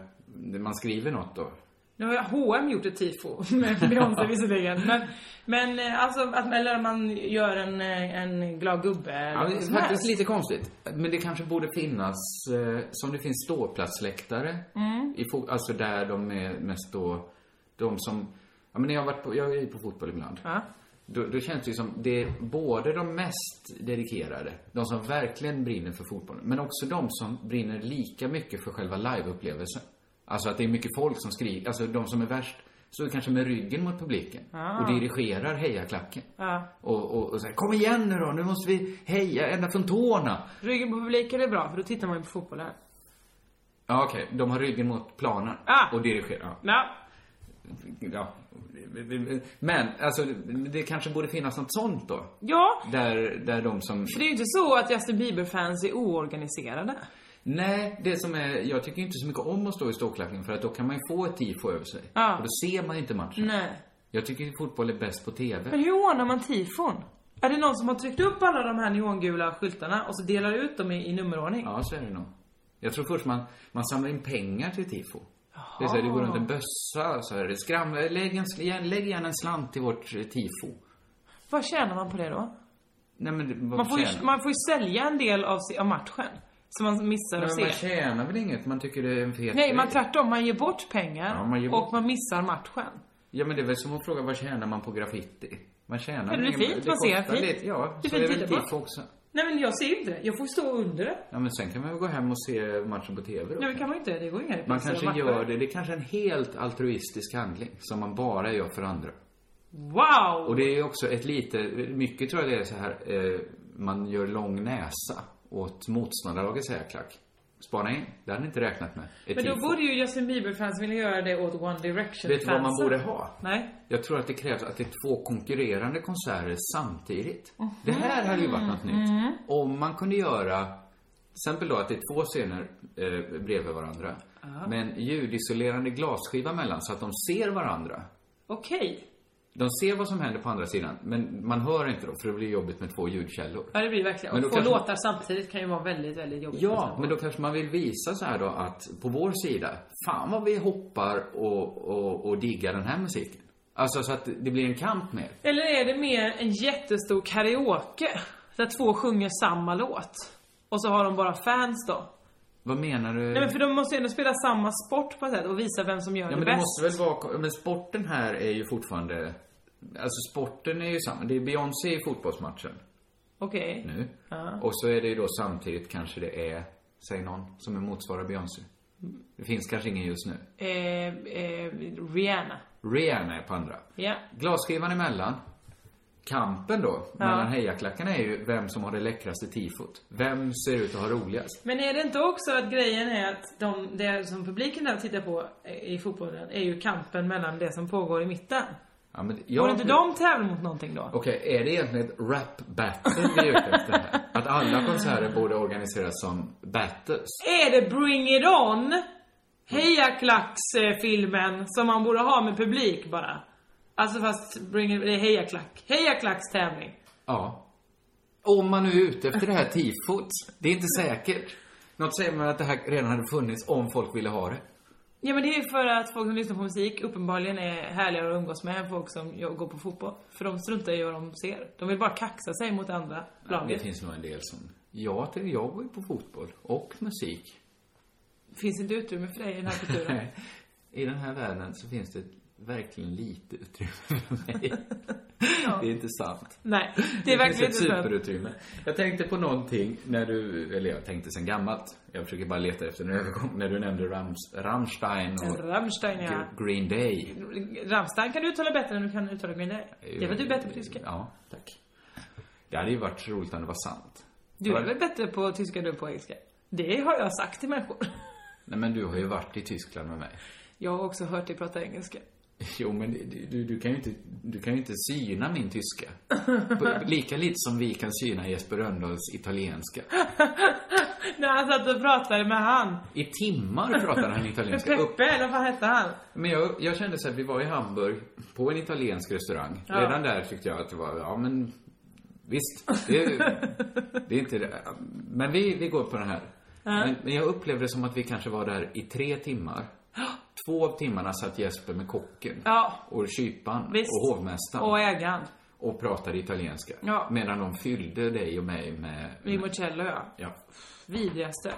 S2: man skriver något då.
S3: Nu har H&M gjort ett tifo med Beyoncé visserligen. Men, men eh, alltså, att, eller om man gör en, eh, en glad gubbe eller
S2: Ja, det är
S3: vad som helst.
S2: faktiskt lite konstigt. Men det kanske borde finnas, eh, som det finns ståplatsläktare.
S3: Mm.
S2: I fo- alltså där de är mest då, de som, ja men när jag har varit på, jag är ju på fotboll ibland.
S3: Ja.
S2: Då, då känns det ju som, det är både de mest dedikerade, de som verkligen brinner för fotbollen, men också de som brinner lika mycket för själva liveupplevelsen. Alltså att det är mycket folk som skriker, alltså de som är värst står kanske med ryggen mot publiken
S3: Ah.
S2: och dirigerar hejaklacken.
S3: Ja.
S2: Och, och, och säger, kom igen nu då, nu måste vi heja ända från tårna.
S3: Ryggen på publiken är bra, för då tittar man ju på fotboll här.
S2: Ja, okej, de har ryggen mot planen
S3: Ah.
S2: och dirigerar. Ja.
S3: Ja.
S2: ja. Men, alltså, det kanske borde finnas något sånt då.
S3: ja,
S2: Där, där de som...
S3: det är ju inte så att Justin Bieber-fans är oorganiserade.
S2: Nej, det som är, jag tycker inte så mycket om att stå i ståklacken för att då kan man ju få ett tifo över sig.
S3: Ja.
S2: Och då ser man inte matchen.
S3: Nej.
S2: Jag tycker att fotboll är bäst på TV.
S3: Men hur ordnar man tifon? Är det någon som har tryckt upp alla de här neongula skyltarna och så delar ut dem i, i nummerordning?
S2: Ja, så är det nog. Jag tror först man, man samlar in pengar till tifo. Det är så här, det går runt en bössa så här, det skramlar, lägg, en, sl- igen- lägg gärna en slant till vårt eh, tifo.
S3: Vad tjänar man på det då?
S2: Nej men det- vad
S3: Man får, ju,
S2: tjänar-
S3: man får ju sälja en del av, si- av matchen. Som man missar
S2: Men
S3: att se.
S2: man tjänar väl inget, man tycker det är en fet
S3: Nej,
S2: grej.
S3: man tvärtom. Man ger bort pengar
S2: Ja, man ger bort-
S3: och man missar matchen.
S2: Ja men det är väl som att fråga vad tjänar man på graffiti? Man tjänar
S3: Ja, det blir
S2: väl inget-
S3: fint, man ser
S2: kostar
S3: fint.
S2: lite, Ja,
S3: Det är
S2: så
S3: fint
S2: är det
S3: titta
S2: väl
S3: på.
S2: tifo också.
S3: Nej men jag ser ju inte det. Jag får stå under det.
S2: Ja men sen kan man väl gå hem och se matchen på TV då.
S3: Nej men kan man inte. Det går
S2: Man
S3: inga repriser av
S2: kanske
S3: matcher.
S2: gör det, det är kanske en helt altruistisk handling som man bara gör för andra.
S3: Wow!
S2: Och det är ju också ett lite, mycket tror jag det är så här, eh, man gör lång näsa åt motståndarlagets hejaklack. Spana in, det hade ni inte räknat med. Ett
S3: men då
S2: tifo.
S3: borde ju Justin Bieber-fans vilja göra det åt One Direction-fansen.
S2: Vet du vad man borde ha?
S3: Nej.
S2: Jag tror att det krävs att det är två konkurrerande konserter samtidigt. Det här hade ju varit något
S3: Mm.
S2: nytt. Om man kunde göra, till exempel då att det är två scener eh, bredvid varandra. Med en ljudisolerande glasskiva mellan så att de ser varandra.
S3: Okej.
S2: De ser vad som händer på andra sidan, men man hör inte då för det blir jobbigt med två ljudkällor.
S3: Ja det blir verkligen.
S2: Men
S3: Och
S2: då
S3: få
S2: kanske-
S3: låtar samtidigt kan ju vara väldigt, väldigt jobbigt.
S2: Ja, men då kanske man vill visa så här då att på vår sida, fan vad vi hoppar och, och, och diggar den här musiken. Alltså så att det blir en kamp mer.
S3: Eller är det mer en jättestor karaoke? Där två sjunger samma låt. Och så har de bara fans då.
S2: Vad menar du?
S3: Nej men för de måste ju ändå spela samma sport på ett sätt och visa vem som gör
S2: Ja,
S3: det
S2: men det
S3: bäst.
S2: måste väl vara... Men sporten här är ju fortfarande... Alltså sporten är ju samma. Det är Beyoncé i fotbollsmatchen
S3: Okej.
S2: nu. Och så är det ju då samtidigt kanske det är, säg någon, som är motsvarar Beyoncé. Det finns kanske ingen just nu.
S3: Eh, eh, Rihanna.
S2: Rihanna är på andra.
S3: Ja.
S2: Glasskivan emellan. kampen då mellan hejaklackarna är ju vem som har det läckraste tifot. Vem ser ut att ha roligast?
S3: Men är det inte också att grejen är att de, det som publiken där tittar på eh, i fotbollen är ju kampen mellan det som pågår i mitten?
S2: Ja, men
S3: Borde
S2: jag...
S3: inte de tävla mot någonting då?
S2: Okej, är det egentligen ett rap-battle vi är ute efter här? Att alla konserter borde organiseras som battles?
S3: Är det Bring It On? Hejaklacksfilmen som man borde ha med publik bara. Alltså fast bring it, det är hejaklack. Hejaklackstävling.
S2: Ja. Om man nu är ute efter det här tifot. Det är inte säkert. Något säger mig att det här redan hade funnits om folk ville ha det.
S3: Ja men det är för att folk som lyssnar på musik uppenbarligen är härligare att umgås med än folk som jag- går på fotboll. För de struntar i vad de ser. De vill bara kaxa sig mot andra
S2: Det
S3: laget.
S2: finns nog en del som... Ja, till- jag går ju på fotboll. Och musik.
S3: Finns inte utrymme för dig i den här kulturen.
S2: I den här världen så finns det verkligen lite utrymme för mig. Det är inte sant.
S3: Nej, det är verkligen
S2: finns
S3: inte
S2: ett
S3: sant.
S2: superutrymme. Jag tänkte på någonting när du, eller jag tänkte sen gammalt. Jag försöker bara leta efter en övergång när du nämnde Rams, Rammstein och
S3: Rammstein ja.
S2: Gr- Green Day.
S3: Rammstein kan du uttala bättre än du kan uttala Green Day. Det är väl du bättre på tyska?
S2: Ja, tack. Det hade ju varit roligt om det var sant.
S3: Du är väl bättre på tyska än du är på engelska? Det har jag sagt till människor.
S2: Nej men du har ju varit i Tyskland med mig.
S3: Jag har också hört dig prata engelska.
S2: Jo men du- du, du kan ju inte, du kan ju inte syna min tyska. På- Lika lite som vi kan syna Jesper Rönndahls italienska.
S3: När han satt och pratade med han.
S2: I timmar pratade han italienska. Upp
S3: Peppe, eller vad fan hette han?
S2: Men jag, jag kände så här, vi var i Hamburg på en italiensk restaurang. Redan där tyckte jag att det var, ja men visst, det, är- det är inte det. Men vi, vi går på den här. Men, men jag upplevde det som att vi kanske var där i tre timmar. Två av timmarna satt Jesper med kocken
S3: Ja.
S2: och kyparen
S3: Visst.
S2: och hovmästaren
S3: Och ägaren.
S2: och pratade italienska.
S3: Ja.
S2: Medan de fyllde dig och mig med...
S3: Limoncello ja.
S2: Ja.
S3: Vidrigaste.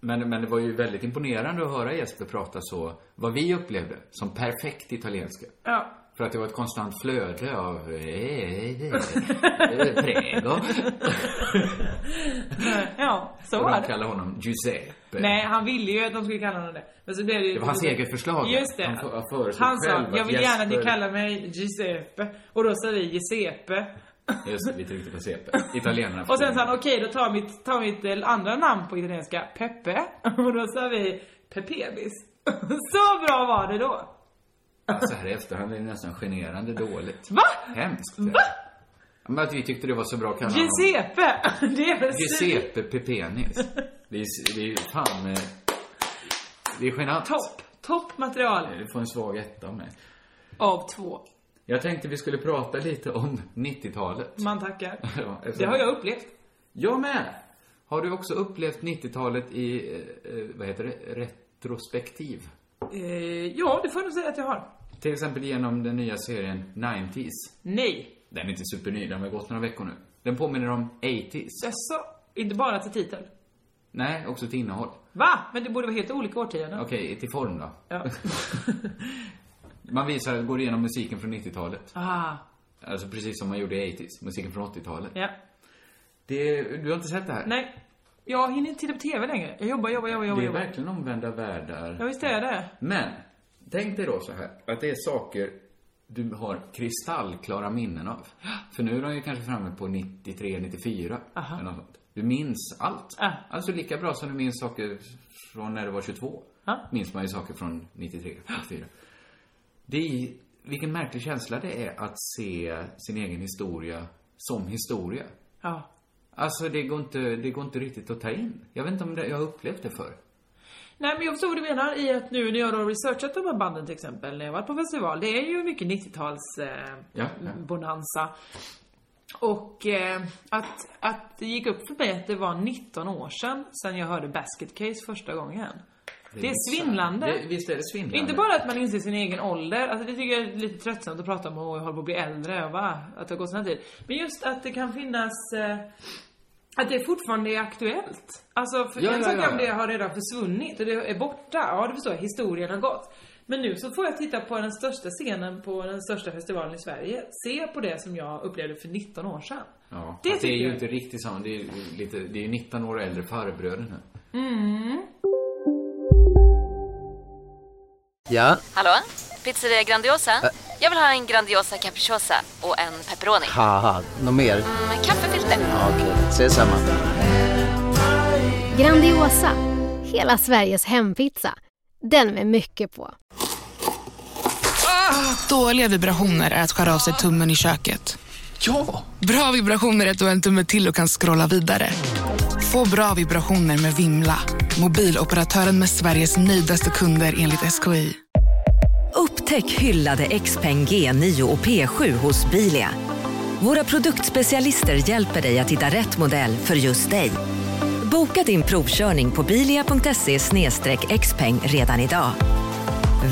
S2: Men, men det var ju väldigt imponerande att höra Jesper prata så, vad vi upplevde som perfekt italienska.
S3: Ja.
S2: För att det var ett konstant flöde av... eh, eh, eh, Prego.
S3: Ja, så
S2: Och
S3: var
S2: de
S3: det.
S2: kallade honom Giuseppe.
S3: Nej, han ville ju att de skulle kalla honom det. Men så blev det ju...
S2: Det var hans eget förslag.
S3: Just det.
S2: Han för- han föreslog
S3: Han sa,
S2: själv
S3: jag
S2: att
S3: vill gärna att ni
S2: Jesper-
S3: kallar mig Giuseppe. Och då sa vi Giuseppe.
S2: Just det, vi tryckte på CP. Italienarna
S3: Och sen sa han, okej då tar mitt, tar mitt eh, andra namn på italienska, Peppe. Och då sa vi Pepebis. Så bra var det då!
S2: Så Alltså, här i efterhand är det nästan generande dåligt.
S3: Va?
S2: Hemskt.
S3: Va?
S2: Men att vi tyckte det var så bra kallade honom
S3: Giuseppe! Det är väl syn-
S2: Giuseppe Pepenis. Det är, det är fan... eh, Det är genant.
S3: topp, topp material
S2: Du får en svag etta av mig.
S3: av två.
S2: Jag tänkte vi skulle prata lite om 90-talet.
S3: Man tackar.
S2: Ja, eftersom-
S3: Det har jag upplevt.
S2: Jag med! Har du också upplevt 90-talet i, eh, eh, vad heter det, retrospektiv?
S3: Eh, ja, det får jag nog säga att jag har.
S2: Till exempel genom den nya serien 90s.
S3: Nej.
S2: Den är inte superny, den har gått några veckor nu. Den påminner om 80s.
S3: Jaså? Inte bara till titel.
S2: Nej, också till innehåll.
S3: Va? Men det borde vara helt olika årtionden.
S2: Okej, till form då.
S3: Ja.
S2: Man visar, går igenom musiken från 90-talet.
S3: Ah,
S2: Alltså precis som man gjorde i 80s, musiken från 80-talet.
S3: ja.
S2: Det, du har inte sett det här?
S3: Nej. Jag hinner inte titta på TV längre. Jag jobbar, jobbar, jobbar, jobbar.
S2: Det är
S3: jobbar.
S2: verkligen omvända världar.
S3: Ja, visst är det.
S2: Men, tänk dig då så här, att det är saker du har kristallklara minnen av. För nu är de ju kanske framme på 93, 94.
S3: Aha.
S2: Eller något sånt. Du minns allt.
S3: Ja.
S2: Alltså lika bra som du minns saker från när du var 22.
S3: Ja.
S2: Minns man ju saker från 93, 94. Det är, vilken märklig känsla det är att se sin egen historia som historia.
S3: Ja.
S2: Alltså det går inte, det går inte riktigt att ta in. Jag vet inte om det, jag har upplevt det förr.
S3: Nej men jag förstår vad du menar i att nu när jag då har researchat de här banden till exempel, när jag varit på festival, det är ju mycket 90-tals eh,
S2: Ja, ja.
S3: bonanza. Och eh, att, att det gick upp för mig att det var 19 år sedan, sedan jag hörde Basket Case första gången. Det, är svindlande.
S2: Det, visst är det svindlande?
S3: Inte bara att man inser sin egen ålder, alltså det tycker jag är lite tröttsamt att prata om och jag håller på att bli äldre och va, att det har gått sån här tid. Men just att det kan finnas eh, att det fortfarande är aktuellt. Alltså, för
S2: Ja,
S3: en
S2: ja,
S3: sak
S2: ja,
S3: om
S2: ja.
S3: det har redan försvunnit och det är borta. Ja, du förstår, historien har gått. Men nu så får jag titta på den största scenen på den största festivalen i Sverige. Se på det som jag upplevde för 19 år sedan.
S2: Ja,
S3: det
S2: fast det är
S3: tycker
S2: ju
S3: jag.
S2: inte riktigt samma. Det är ju lite, det är ju 19 år äldre farbröder nu.
S4: Ja,
S5: Hallå? Pizzeria Grandiosa?
S4: Jag vill ha en Grandiosa capriciosa och en pepperoni.
S5: Haha, något mer?
S4: Med kaffefilter.
S5: Ja, Okej, ses samma.
S6: Grandiosa, hela Sveriges hempizza. Den med mycket på.
S7: Dåliga vibrationer är att skära av sig tummen i köket.
S5: Ja!
S7: Bra vibrationer är att du har en tumme till och kan scrolla vidare. Få bra vibrationer med Vimla. Mobiloperatören med Sveriges nöjdaste kunder enligt SKI.
S8: Upptäck hyllade XPeng G9 och P7 hos Bilia. Våra produktspecialister hjälper dig att hitta rätt modell för just dig. Boka din provkörning på bilia.se xpeng redan idag.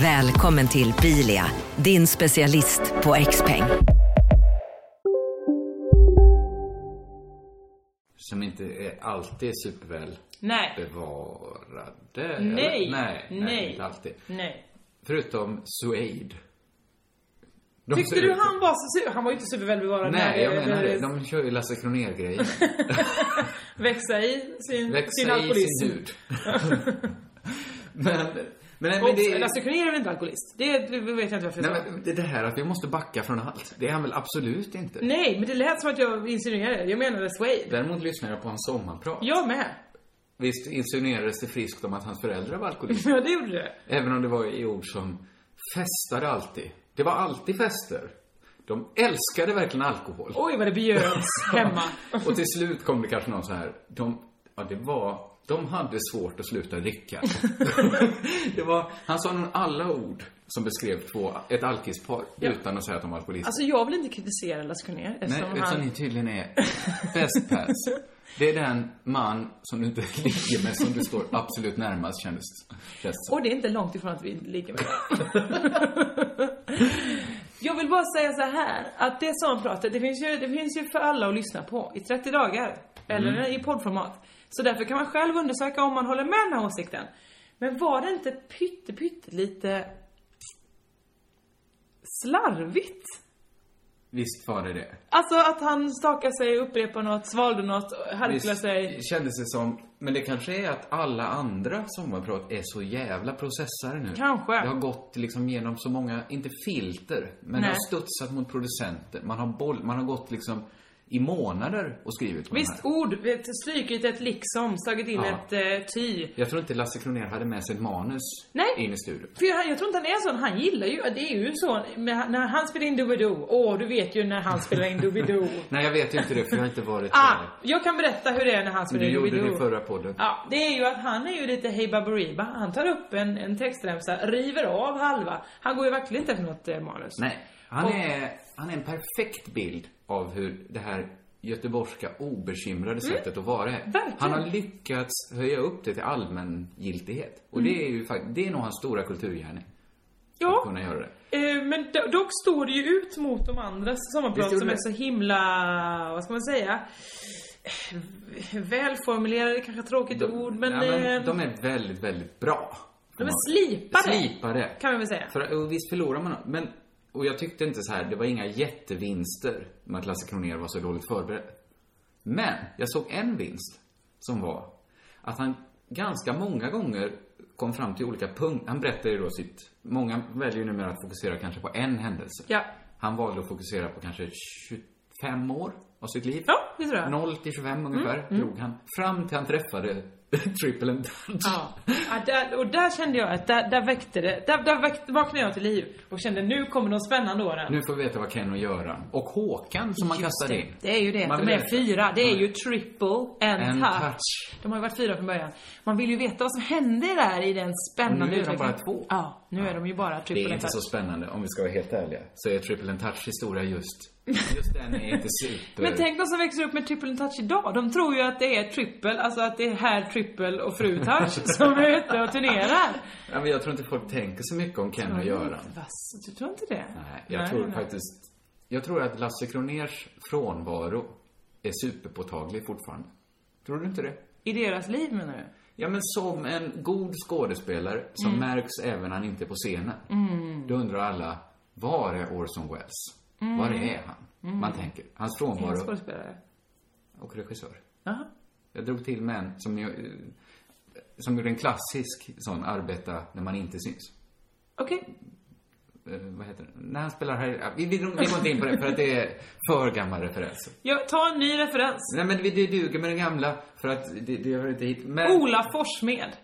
S8: Välkommen till Bilia, din specialist på XPeng.
S2: Som inte är alltid är superväl
S3: Nej.
S2: bevarade.
S3: Nej.
S2: eller? Nej, nej,
S3: Nej.
S2: inte alltid.
S3: Nej.
S2: Förutom Suede. De
S3: Tyckte
S2: ser
S3: du
S2: ut-
S3: han var så su- Han var ju inte supervälbevarad
S2: Nej, jag
S3: eh,
S2: menar det.
S3: eh,
S2: De kör ju Lasse Kronér-grejer.
S3: Växa i sin, sin
S2: Växa i
S3: alkoholism.
S2: sin hud. men, men, men
S3: Och
S2: det...
S3: Lasse Kronér är alltså, väl inte alkoholist? Det det vet jag inte varför jag
S2: Nej,
S3: sa.
S2: men det det här att vi måste backa från allt. Det är han väl absolut inte.
S3: Nej, men det lät som att jag insinuerade. Jag menade Suede.
S2: Däremot lyssnar jag på hans sommarprat.
S3: Jag med.
S2: Visst insinuerades det friskt om att hans föräldrar var alkoholister.
S3: Ja, det gjorde det.
S2: även om det var i ord som festade alltid. Det var alltid fester. De älskade verkligen alkohol.
S3: Oj, vad det bjöds hemma.
S2: Och till slut kom det kanske någon så här. De, ja, det var, de hade svårt att sluta dricka. det var, han sa nog alla ord som beskrev två, ett alkispar utan att säga att de var alkoholister.
S3: Alltså, jag vill inte kritisera Lasse Kronér
S2: Nej,
S3: eftersom
S2: utan
S3: han...
S2: ni tydligen är best pass. Det är den man som du inte ligger med som du står absolut närmast kändes känns det som.
S3: Och det är inte långt ifrån att vi ligger med Jag vill bara säga så här att det som pratet, det finns ju, det finns ju för alla att lyssna på i 30 dagar. Eller
S2: Mm.
S3: i poddformat. Så därför kan man själv undersöka om man håller med den här åsikten. Men var det inte pytte, pytte lite slarvigt?
S2: Visst var det det.
S3: Alltså att han stakade sig, upprepade något, svalde något, harklade
S2: Visst
S3: sig.
S2: kändes det som, men det kanske är att alla andra sommarprat är så jävla processare nu.
S3: Kanske.
S2: Det har gått liksom genom så många, inte filter, men det
S3: Nej.
S2: har studsat mot producenter. Man har boll, man har gått liksom i månader och skrivit på den
S3: Visst,
S2: här.
S3: ord, vet, strykit ett liksom, slagit in
S2: Ja.
S3: ett eh, ty.
S2: Jag tror inte Lasse Kronér hade med sig ett manus
S3: Nej.
S2: in i studion.
S3: För jag, jag tror inte han är sån, han gillar ju, det är ju så, men han- när han spelar in Doobidoo, åh du vet ju när han spelar in Doobidoo.
S2: Nej, jag vet ju inte det, för jag har inte varit
S3: ah,
S2: där.
S3: jag kan berätta hur det är när han
S2: Men
S3: spelar
S2: du
S3: in
S2: gjorde
S3: Doobidoo.
S2: det i förra podden.
S3: Ja, det är ju att han är ju lite Hey Baberiba. Han tar upp en, en textremsa, river av halva. Han går ju verkligen inte efter något eh, manus.
S2: Nej, han
S3: Och-
S2: är, han är en perfekt bild av hur det här göteborgska obekymrade sättet att vara är.
S3: Mm. Verkligen.
S2: Han har lyckats höja upp det till allmängiltighet. Och det är ju faktiskt, det är nog hans stora kulturgärning. Att
S3: Mm. Ja,
S2: kunna göra det.
S3: eh, men do- dock står det ju ut mot de andra sommarprat
S2: Visst
S3: som
S2: gjorde
S3: är
S2: det.
S3: så himla, vad ska man säga? Välformulerade, kanske tråkigt ord, men,
S2: ja, men
S3: eh,
S2: de är väldigt, väldigt bra.
S3: de är slipade.
S2: Slipade.
S3: Kan vi väl säga.
S2: För, och visst förlorar man Men, och jag tyckte inte så här, det var inga jättevinster med att Lasse Kronér var så dåligt förberedd. Men, jag såg en vinst som var att han ganska många gånger kom fram till olika punkter. Han berättade ju då sitt... Många väljer ju numera att fokusera kanske på en händelse.
S3: Ja.
S2: Han valde att fokusera på kanske 25 år av sitt liv.
S3: Ja, det tror jag. Mm,
S2: 0 till 25 ungefär drog han. Fram till han träffade Triple and Dutch.
S3: Ja. Ja, där, och där kände jag att där, där väckte det. Där, där väckte, vaknade jag till liv och kände nu kommer de spännande åren.
S2: Nu får vi veta vad Ken och Göran och Håkan som man
S3: Just
S2: kastade in.
S3: Det är ju det,
S2: Man
S3: de
S2: vill
S3: är
S2: veta.
S3: fyra. Det är
S2: Ja.
S3: ju triple and,
S2: And
S3: touch.
S2: touch.
S3: De har ju varit fyra från början. Man vill ju veta vad som hände där i den spännande
S2: Och nu är de
S3: utvecklingen.
S2: bara två.
S3: Ja, nu är de ju bara
S2: Det
S3: triple
S2: är
S3: and
S2: inte
S3: touch.
S2: så spännande, om vi ska vara helt ärliga. Så är Triple and Touch historia just... Just den är inte super...
S3: Men tänk de som växer upp med triple and touch idag. De tror ju att det är trippel, alltså att det är herr trippel och fru touch som är ute och turnerar.
S2: Ja, men jag tror inte folk tänker så mycket om Ken och Göran.
S3: Vass, du tror inte det?
S2: Nej, jag tror faktiskt... Jag tror att Lasse Kronérs frånvaro är superpåtaglig fortfarande. Tror du inte det?
S3: I deras liv menar du?
S2: Ja, men som en god skådespelare som märks även när han inte är på scenen. Då undrar alla, var är Orson Welles? Var är han? Man tänker, hans
S3: En
S2: frånvaro
S3: skådespelare?
S2: och regissör.
S3: Jaha.
S2: Jag drog till med en som, jag, eh, som gjorde en klassisk sån arbeta när man inte syns.
S3: Okej.
S2: eh, vad heter det? När han spelar Harry... ah, Vi, vi, vi går inte in på det för att det är för gammal referens.
S3: Ja, ta en ny referens.
S2: Nej, men vi- det duger med den gamla för att det, det hör inte hit. Men...
S3: Ola Forssmed.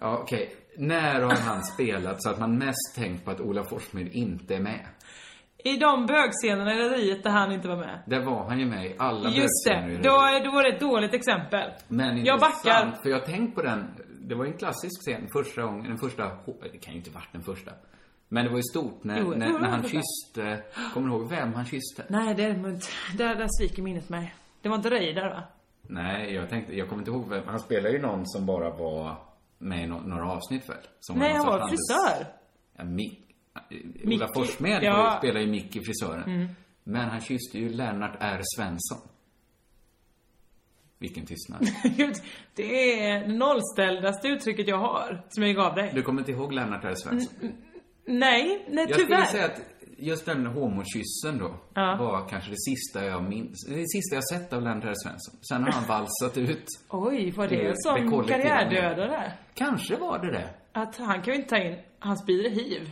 S2: Ja, okej. När har han spelat så att man mest tänkt på att Ola Forssmed inte är med?
S3: I de bögscenerna i Rederiet där han inte var med.
S2: Där var han ju med i alla
S3: Just
S2: bögscener i
S3: det.
S2: Rederiet.
S3: Då, då var det ett dåligt exempel.
S2: Men
S3: Jag
S2: intressant,
S3: backar.
S2: För jag har tänkt på den. Det var ju en klassisk scen. Första gången, den första, det kan ju inte varit den första. Men det var ju stort när,
S3: Jo, det
S2: när,
S3: var
S2: när han
S3: den första.
S2: kysste, kommer du ihåg vem han kysste?
S3: Nej, det är det inte. Där, där sviker minnet mig. Det var inte Reidar va?
S2: Nej, jag tänkte, jag kommer inte ihåg vem. Han spelade ju någon som bara var med i no- några avsnitt väl? Som
S3: Nej,
S2: någon
S3: han
S2: sorts
S3: var
S2: handels-
S3: frisör.
S2: Ja, Mick, Eh, Ola
S3: Micke,
S2: Forssmed
S3: ja.
S2: ja. spelar ju Mickey frisören.
S3: Mm.
S2: Men han kysste ju Lennart R. Svensson. Vilken tystnad.
S3: Gud, det är det nollställdaste uttrycket jag har, som jag gav dig.
S2: Du kommer inte ihåg Lennart R. Svensson?
S3: Nej, nej
S2: jag
S3: Mm, tyvärr.
S2: skulle säga att just den homokyssen då var kanske det sista jag minns. Det sista jag sett av Lennart R. Svensson. Sen har han valsat ut.
S3: Oj, var
S2: Det
S3: det
S2: är
S3: en sån
S2: kollektiva
S3: karriärdödare?
S2: Kanske var det det.
S3: Att han kan ju inte ta in, han sprider hiv.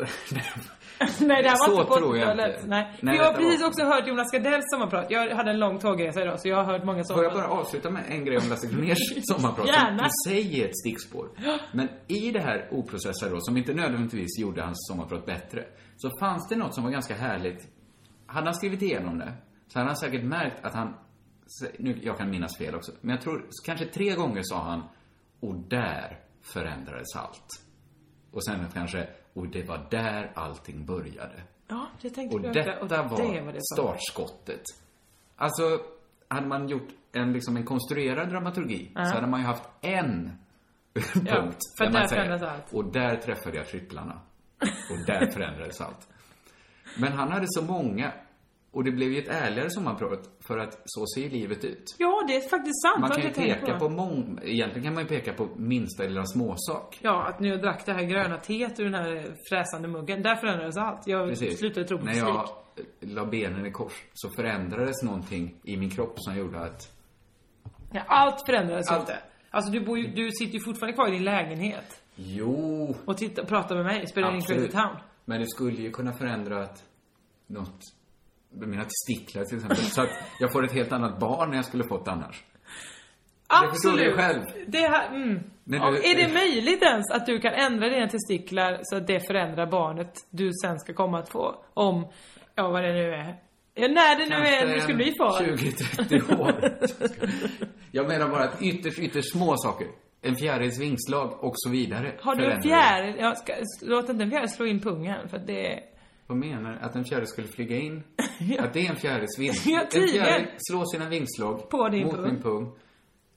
S3: Nej, det här var
S2: Så
S3: inte
S2: tror jag
S3: Gotlandsbladet.
S2: inte.
S3: Nej.
S2: Nej,
S3: jag har
S2: detta var-
S3: precis också hört Jonas Gardells sommarprat. Jag hade en lång tågresa idag, så jag har hört många
S2: Får jag
S3: sommarprat.
S2: bara avsluta med en grej om Lasse Kronérs sommarprat?
S3: Gärna.
S2: Som i sig är ett stickspår. Men i det här oprocessade då, som inte nödvändigtvis gjorde hans sommarprat bättre, så fanns det något som var ganska härligt. Hade han skrivit igenom det, så hade han säkert märkt att han... Nu, jag kan minnas fel också, men jag tror kanske tre gånger sa han och där förändrades allt. Och sen kanske, och det var där allting började.
S3: Ja, det tänkte
S2: Och
S3: jag
S2: detta
S3: också. Och
S2: var,
S3: det var det som-
S2: startskottet. Alltså, hade man gjort en, liksom, en konstruerad dramaturgi
S3: Ja.
S2: så hade man ju haft en punkt.
S3: för
S2: där
S3: där
S2: man säger,
S3: förändras allt.
S2: och där träffade jag tripplarna. Och där förändrades allt. Men han hade så många. Och det blev ju ett ärligare sommarprat för att så ser ju livet ut.
S3: Ja, det är faktiskt sant.
S2: Man
S3: har
S2: kan ju
S3: jag tänkt
S2: peka på många, egentligen kan man ju peka på minsta lilla småsak.
S3: Ja, att nu jag drack det här gröna teet ur den här fräsande muggen. Där förändrades allt. Jag slutade tro på
S2: När
S3: fysik.
S2: jag la benen i kors så förändrades någonting i min kropp som gjorde att
S3: Ja, allt förändrades ju
S2: Allt.
S3: inte. Alltså du, bor ju, du sitter ju fortfarande kvar i din lägenhet.
S2: Jo,
S3: Och titta, pratar med mig, spelar in Crazy Town.
S2: Men det skulle ju kunna förändra att något, mina testiklar till exempel, så att jag får ett helt annat barn än jag skulle fått annars. Jag förstår
S3: Absolut!
S2: det själv.
S3: Det här, mm.
S2: Men
S3: Ja,
S2: du-
S3: är det möjligt ens att du kan ändra dina testiklar så att det förändrar barnet du sen ska komma att få? Om, ja vad det nu är. Ja, när det nu är du ska bli far.
S2: 20-30 år. Jag menar bara att ytterst, ytterst små saker, en fjärils vingslag och så vidare.
S3: Har du en
S2: förändrar.
S3: fjäril? Ja, ska, låt inte en fjäril slå in pungen för att det är...
S2: Vad menar du? Att en fjäril skulle flyga in? Att det är en fjärils vind?
S3: Ja,
S2: en
S3: tydligen.
S2: fjäril slår sina vingslag
S3: På din
S2: mot
S3: pung.
S2: min pung.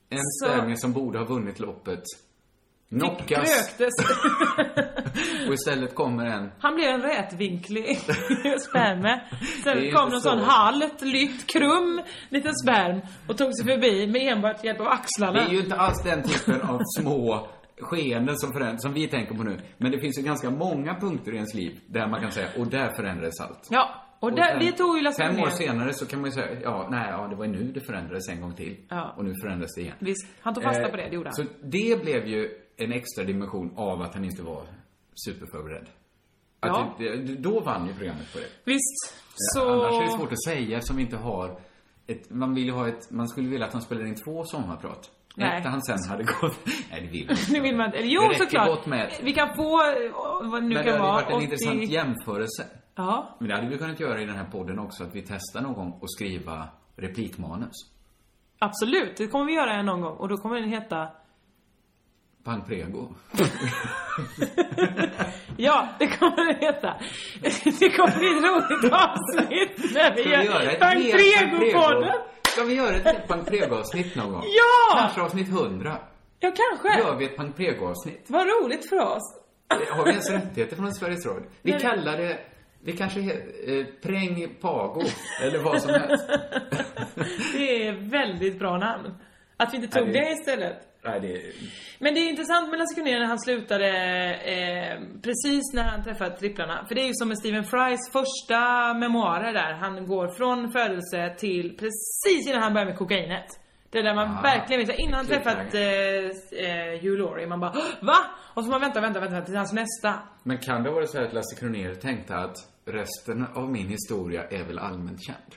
S2: En
S3: Så-
S2: spermie som borde ha vunnit loppet knockas
S3: Kröktes.
S2: och istället kommer en
S3: Han blev en rätvinklig sperme.
S2: Det är
S3: Sen
S2: inte
S3: kom någon
S2: så.
S3: sån halt, lytt, krum liten sperm och tog sig förbi med enbart hjälp av axlarna.
S2: Det är ju inte alls den typen av små skeenden som, föränd- som vi tänker på nu. Men det finns ju ganska många punkter i ens liv där man kan säga, och där förändrades allt.
S3: Ja, och, där,
S2: sen
S3: det tog ju Lasse
S2: Fem år
S3: Kronér.
S2: senare så kan man ju säga, ja, nej, ja, det var ju nu det förändrades en gång till.
S3: Ja.
S2: Och nu förändras det igen.
S3: Visst, han tog fasta
S2: Eh,
S3: på det, det gjorde han.
S2: Så det blev ju en extra dimension av att han inte var superförberedd. Att
S3: Ja.
S2: det, det, då vann ju programmet på det.
S3: Visst, så...
S2: Annars är det svårt att säga eftersom vi inte har ett, man vill ju ha ett, man skulle vilja att han spelade in två sommarprat.
S3: Nej.
S2: Ett där han sen hade gått, nej det vill man inte.
S3: Nu vill man inte... Eller jo,
S2: Det räcker
S3: såklart.
S2: gott med ett.
S3: Vi kan få eh, vad det nu
S2: Men det
S3: kan
S2: hade ju
S3: vara.
S2: varit en intressant
S3: 80
S2: jämförelse.
S3: Ja.
S2: Men det hade vi kunnat göra i den här podden också, att vi testar någon gång och skriva replikmanus.
S3: Absolut, det kommer vi göra någon gång. Och då kommer den heta...
S2: Panprego.
S3: Ja, det kommer den heta. Det kommer bli ett roligt avsnitt när vi
S2: Ska
S3: gör
S2: vi göra ett
S3: Frank
S2: helt
S3: Prego-podden.
S2: Panprego- Ska vi göra ett Panprego-avsnitt någon gång?
S3: Ja!
S2: Kanske avsnitt 100.
S3: Ja, kanske.
S2: Gör vi ett Panprego-avsnitt?
S3: Vad roligt för oss.
S2: Har vi ens rättigheter från Sveriges Radio? Vi
S3: Nej.
S2: kallar det... Vi kanske heter eh, Präng Pago, eller vad som helst.
S3: Det är väldigt bra namn. Att vi inte tog
S2: Ja, det-
S3: det istället.
S2: Nej, det...
S3: Men det är intressant med Lasse Kronér när han slutade eh, precis när han träffade tripplarna. För det är ju som med Stephen Frys första memoarer där. Han går från födelse till precis innan han börjar med kokainet. Det är där man verkligen vill. så här, Innan man träffat eh, eh, Hugh Laurie, man bara "Hå, Va? Och så får man vänta, vänta, vänta till hans nästa.
S2: Men kan det vara så här att Lasse Kronér tänkte att resten av min historia är väl allmänt känd?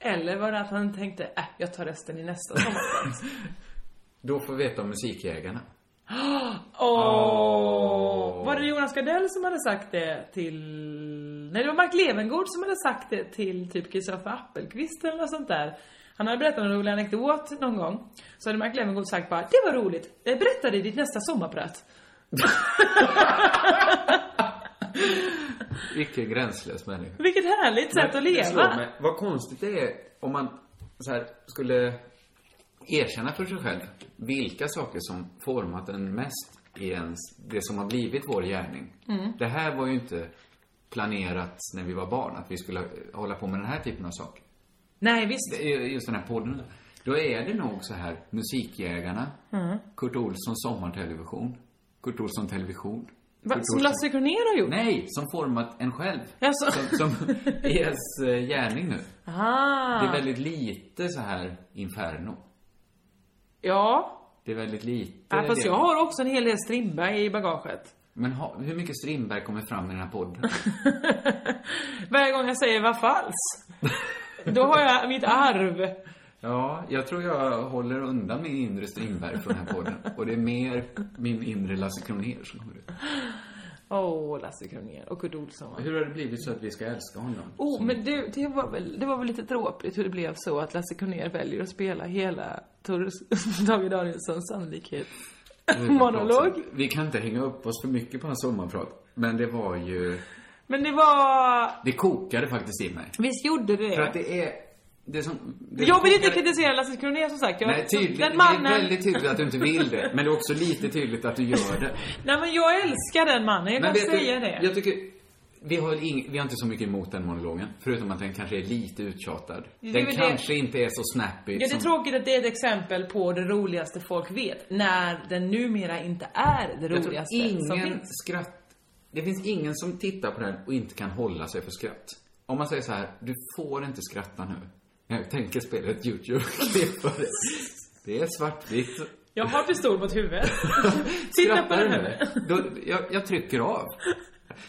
S3: Eller var det att han tänkte, äh, jag tar resten i nästa sommar.
S2: Då får vi veta om Musikjägarna.
S3: Åh! Var det Jonas Gardell som hade sagt det till... Nej, det var Mark Levengård som hade sagt det till typ Kristoffer Appelqvist eller något sånt där. Han hade berättat en rolig anekdot någon gång. Så hade Mark Levengård sagt bara, det var roligt. Eh, Berätta det i ditt nästa sommarprat.
S2: Vilken gränslös människa.
S3: Vilket härligt sätt att
S2: Men det slår
S3: leva.
S2: mig, Vad konstigt det är om man så här, skulle erkänna för sig själv vilka saker som format en mest i ens, det som har blivit vår gärning.
S3: Mm.
S2: Det här var ju inte planerat när vi var barn, att vi skulle eh, hålla på med den här typen av saker.
S3: Nej, visst.
S2: Det är ju Just den här podden. Då är det nog så här, Musikjägarna,
S3: Mm.
S2: Kurt Olsson sommartelevision, Kurt Olsson television.
S3: Va,
S2: Kurt
S3: som
S2: Olsson-
S3: Lasse Kronér har gjort?
S2: Nej, som format en själv.
S3: Jaså?
S2: Som, som är ens eh, gärning nu.
S3: Ah.
S2: Det är väldigt lite så här inferno.
S3: Ja.
S2: Det är väldigt lite.
S3: Ja, fast
S2: det.
S3: jag har också en hel del Strindberg i bagaget.
S2: Men ha, hur mycket Strindberg kommer fram i den här podden?
S3: Varje gång jag säger vad falskt. Då har jag mitt arv.
S2: Ja, jag tror jag håller undan min inre Strindberg från den här podden. Och det är mer min inre Lasse Kronér som kommer ut.
S3: Åh, Lasse Kronér och Kurt Olsson. va?
S2: Hur har det blivit så att vi ska älska honom?
S3: Oh, men du, det var, väl, det var väl lite tråkigt hur det blev så att Lasse Kronér väljer att spela hela Tor- Tage Danielssons sannolikhet. Monolog.
S2: Vi kan inte hänga upp oss för mycket på hans sommarprat. Men det var ju...
S3: Men det var...
S2: Det kokade faktiskt i mig.
S3: Visst gjorde det?
S2: För att det är... Det som, det
S3: jag vill inte
S2: kokade-
S3: kritisera Lasse Kronér som sagt. Jag,
S2: Nej, tydligt.
S3: Den
S2: Det
S3: mannen...
S2: är väldigt tydligt att du inte vill det. Men det är också lite tydligt att du gör det.
S3: Nej men jag älskar den mannen, jag kan
S2: vet du,
S3: säga det.
S2: Jag tycker... Vi har, väl ing, vi har inte så mycket emot den monologen. Förutom att den kanske är lite uttjatad.
S3: Det är
S2: Den
S3: väl det-
S2: kanske inte är så snappy.
S3: Ja, det är
S2: som,
S3: tråkigt att det är ett exempel på det roligaste folk vet. När den numera inte är det
S2: jag tror
S3: roligaste som
S2: ingen
S3: finns.
S2: skratt... Det finns ingen som tittar på den och inte kan hålla sig för skratt. Om man säger så här, du får inte skratta nu. Jag tänker spela ett YouTube-klipp på det. Det är svartvitt.
S3: Jag har pistol mot huvudet. Titta på
S2: Skrattar du
S3: den
S2: nu?
S3: här.
S2: Då, jag, jag trycker av.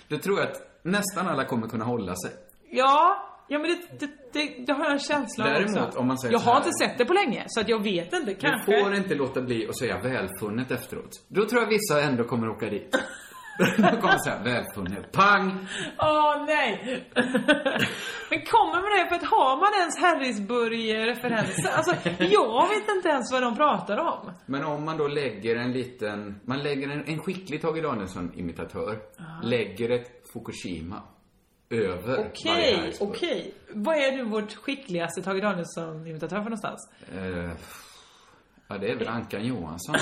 S2: Då tror jag att nästan alla kommer kunna hålla sig.
S3: Ja, ja men det, det, det, det har jag en känsla av
S2: Däremot,
S3: också.
S2: om man säger
S3: jag
S2: så här-
S3: har inte sett det på länge, så att jag vet inte. Kanske.
S2: Du får inte låta bli att säga välfunnet efteråt. Då tror jag vissa ändå kommer åka dit. De kommer säga välfunnet. Pang!
S3: Åh nej! Men kommer man det för att har man ens Harrisburg-referenser? Alltså, jag vet inte ens vad de pratar om.
S2: Men om man då lägger en liten, man lägger en, en skicklig Tage Danielsson-imitatör, lägger ett Fukushima över varje
S3: Ah. Okej,
S2: Harrisburg.
S3: okej. Vad är nu vårt skickligaste Tage Danielsson-imitatör för någonstans?
S2: Eh, ja, det är väl Ankan Johansson.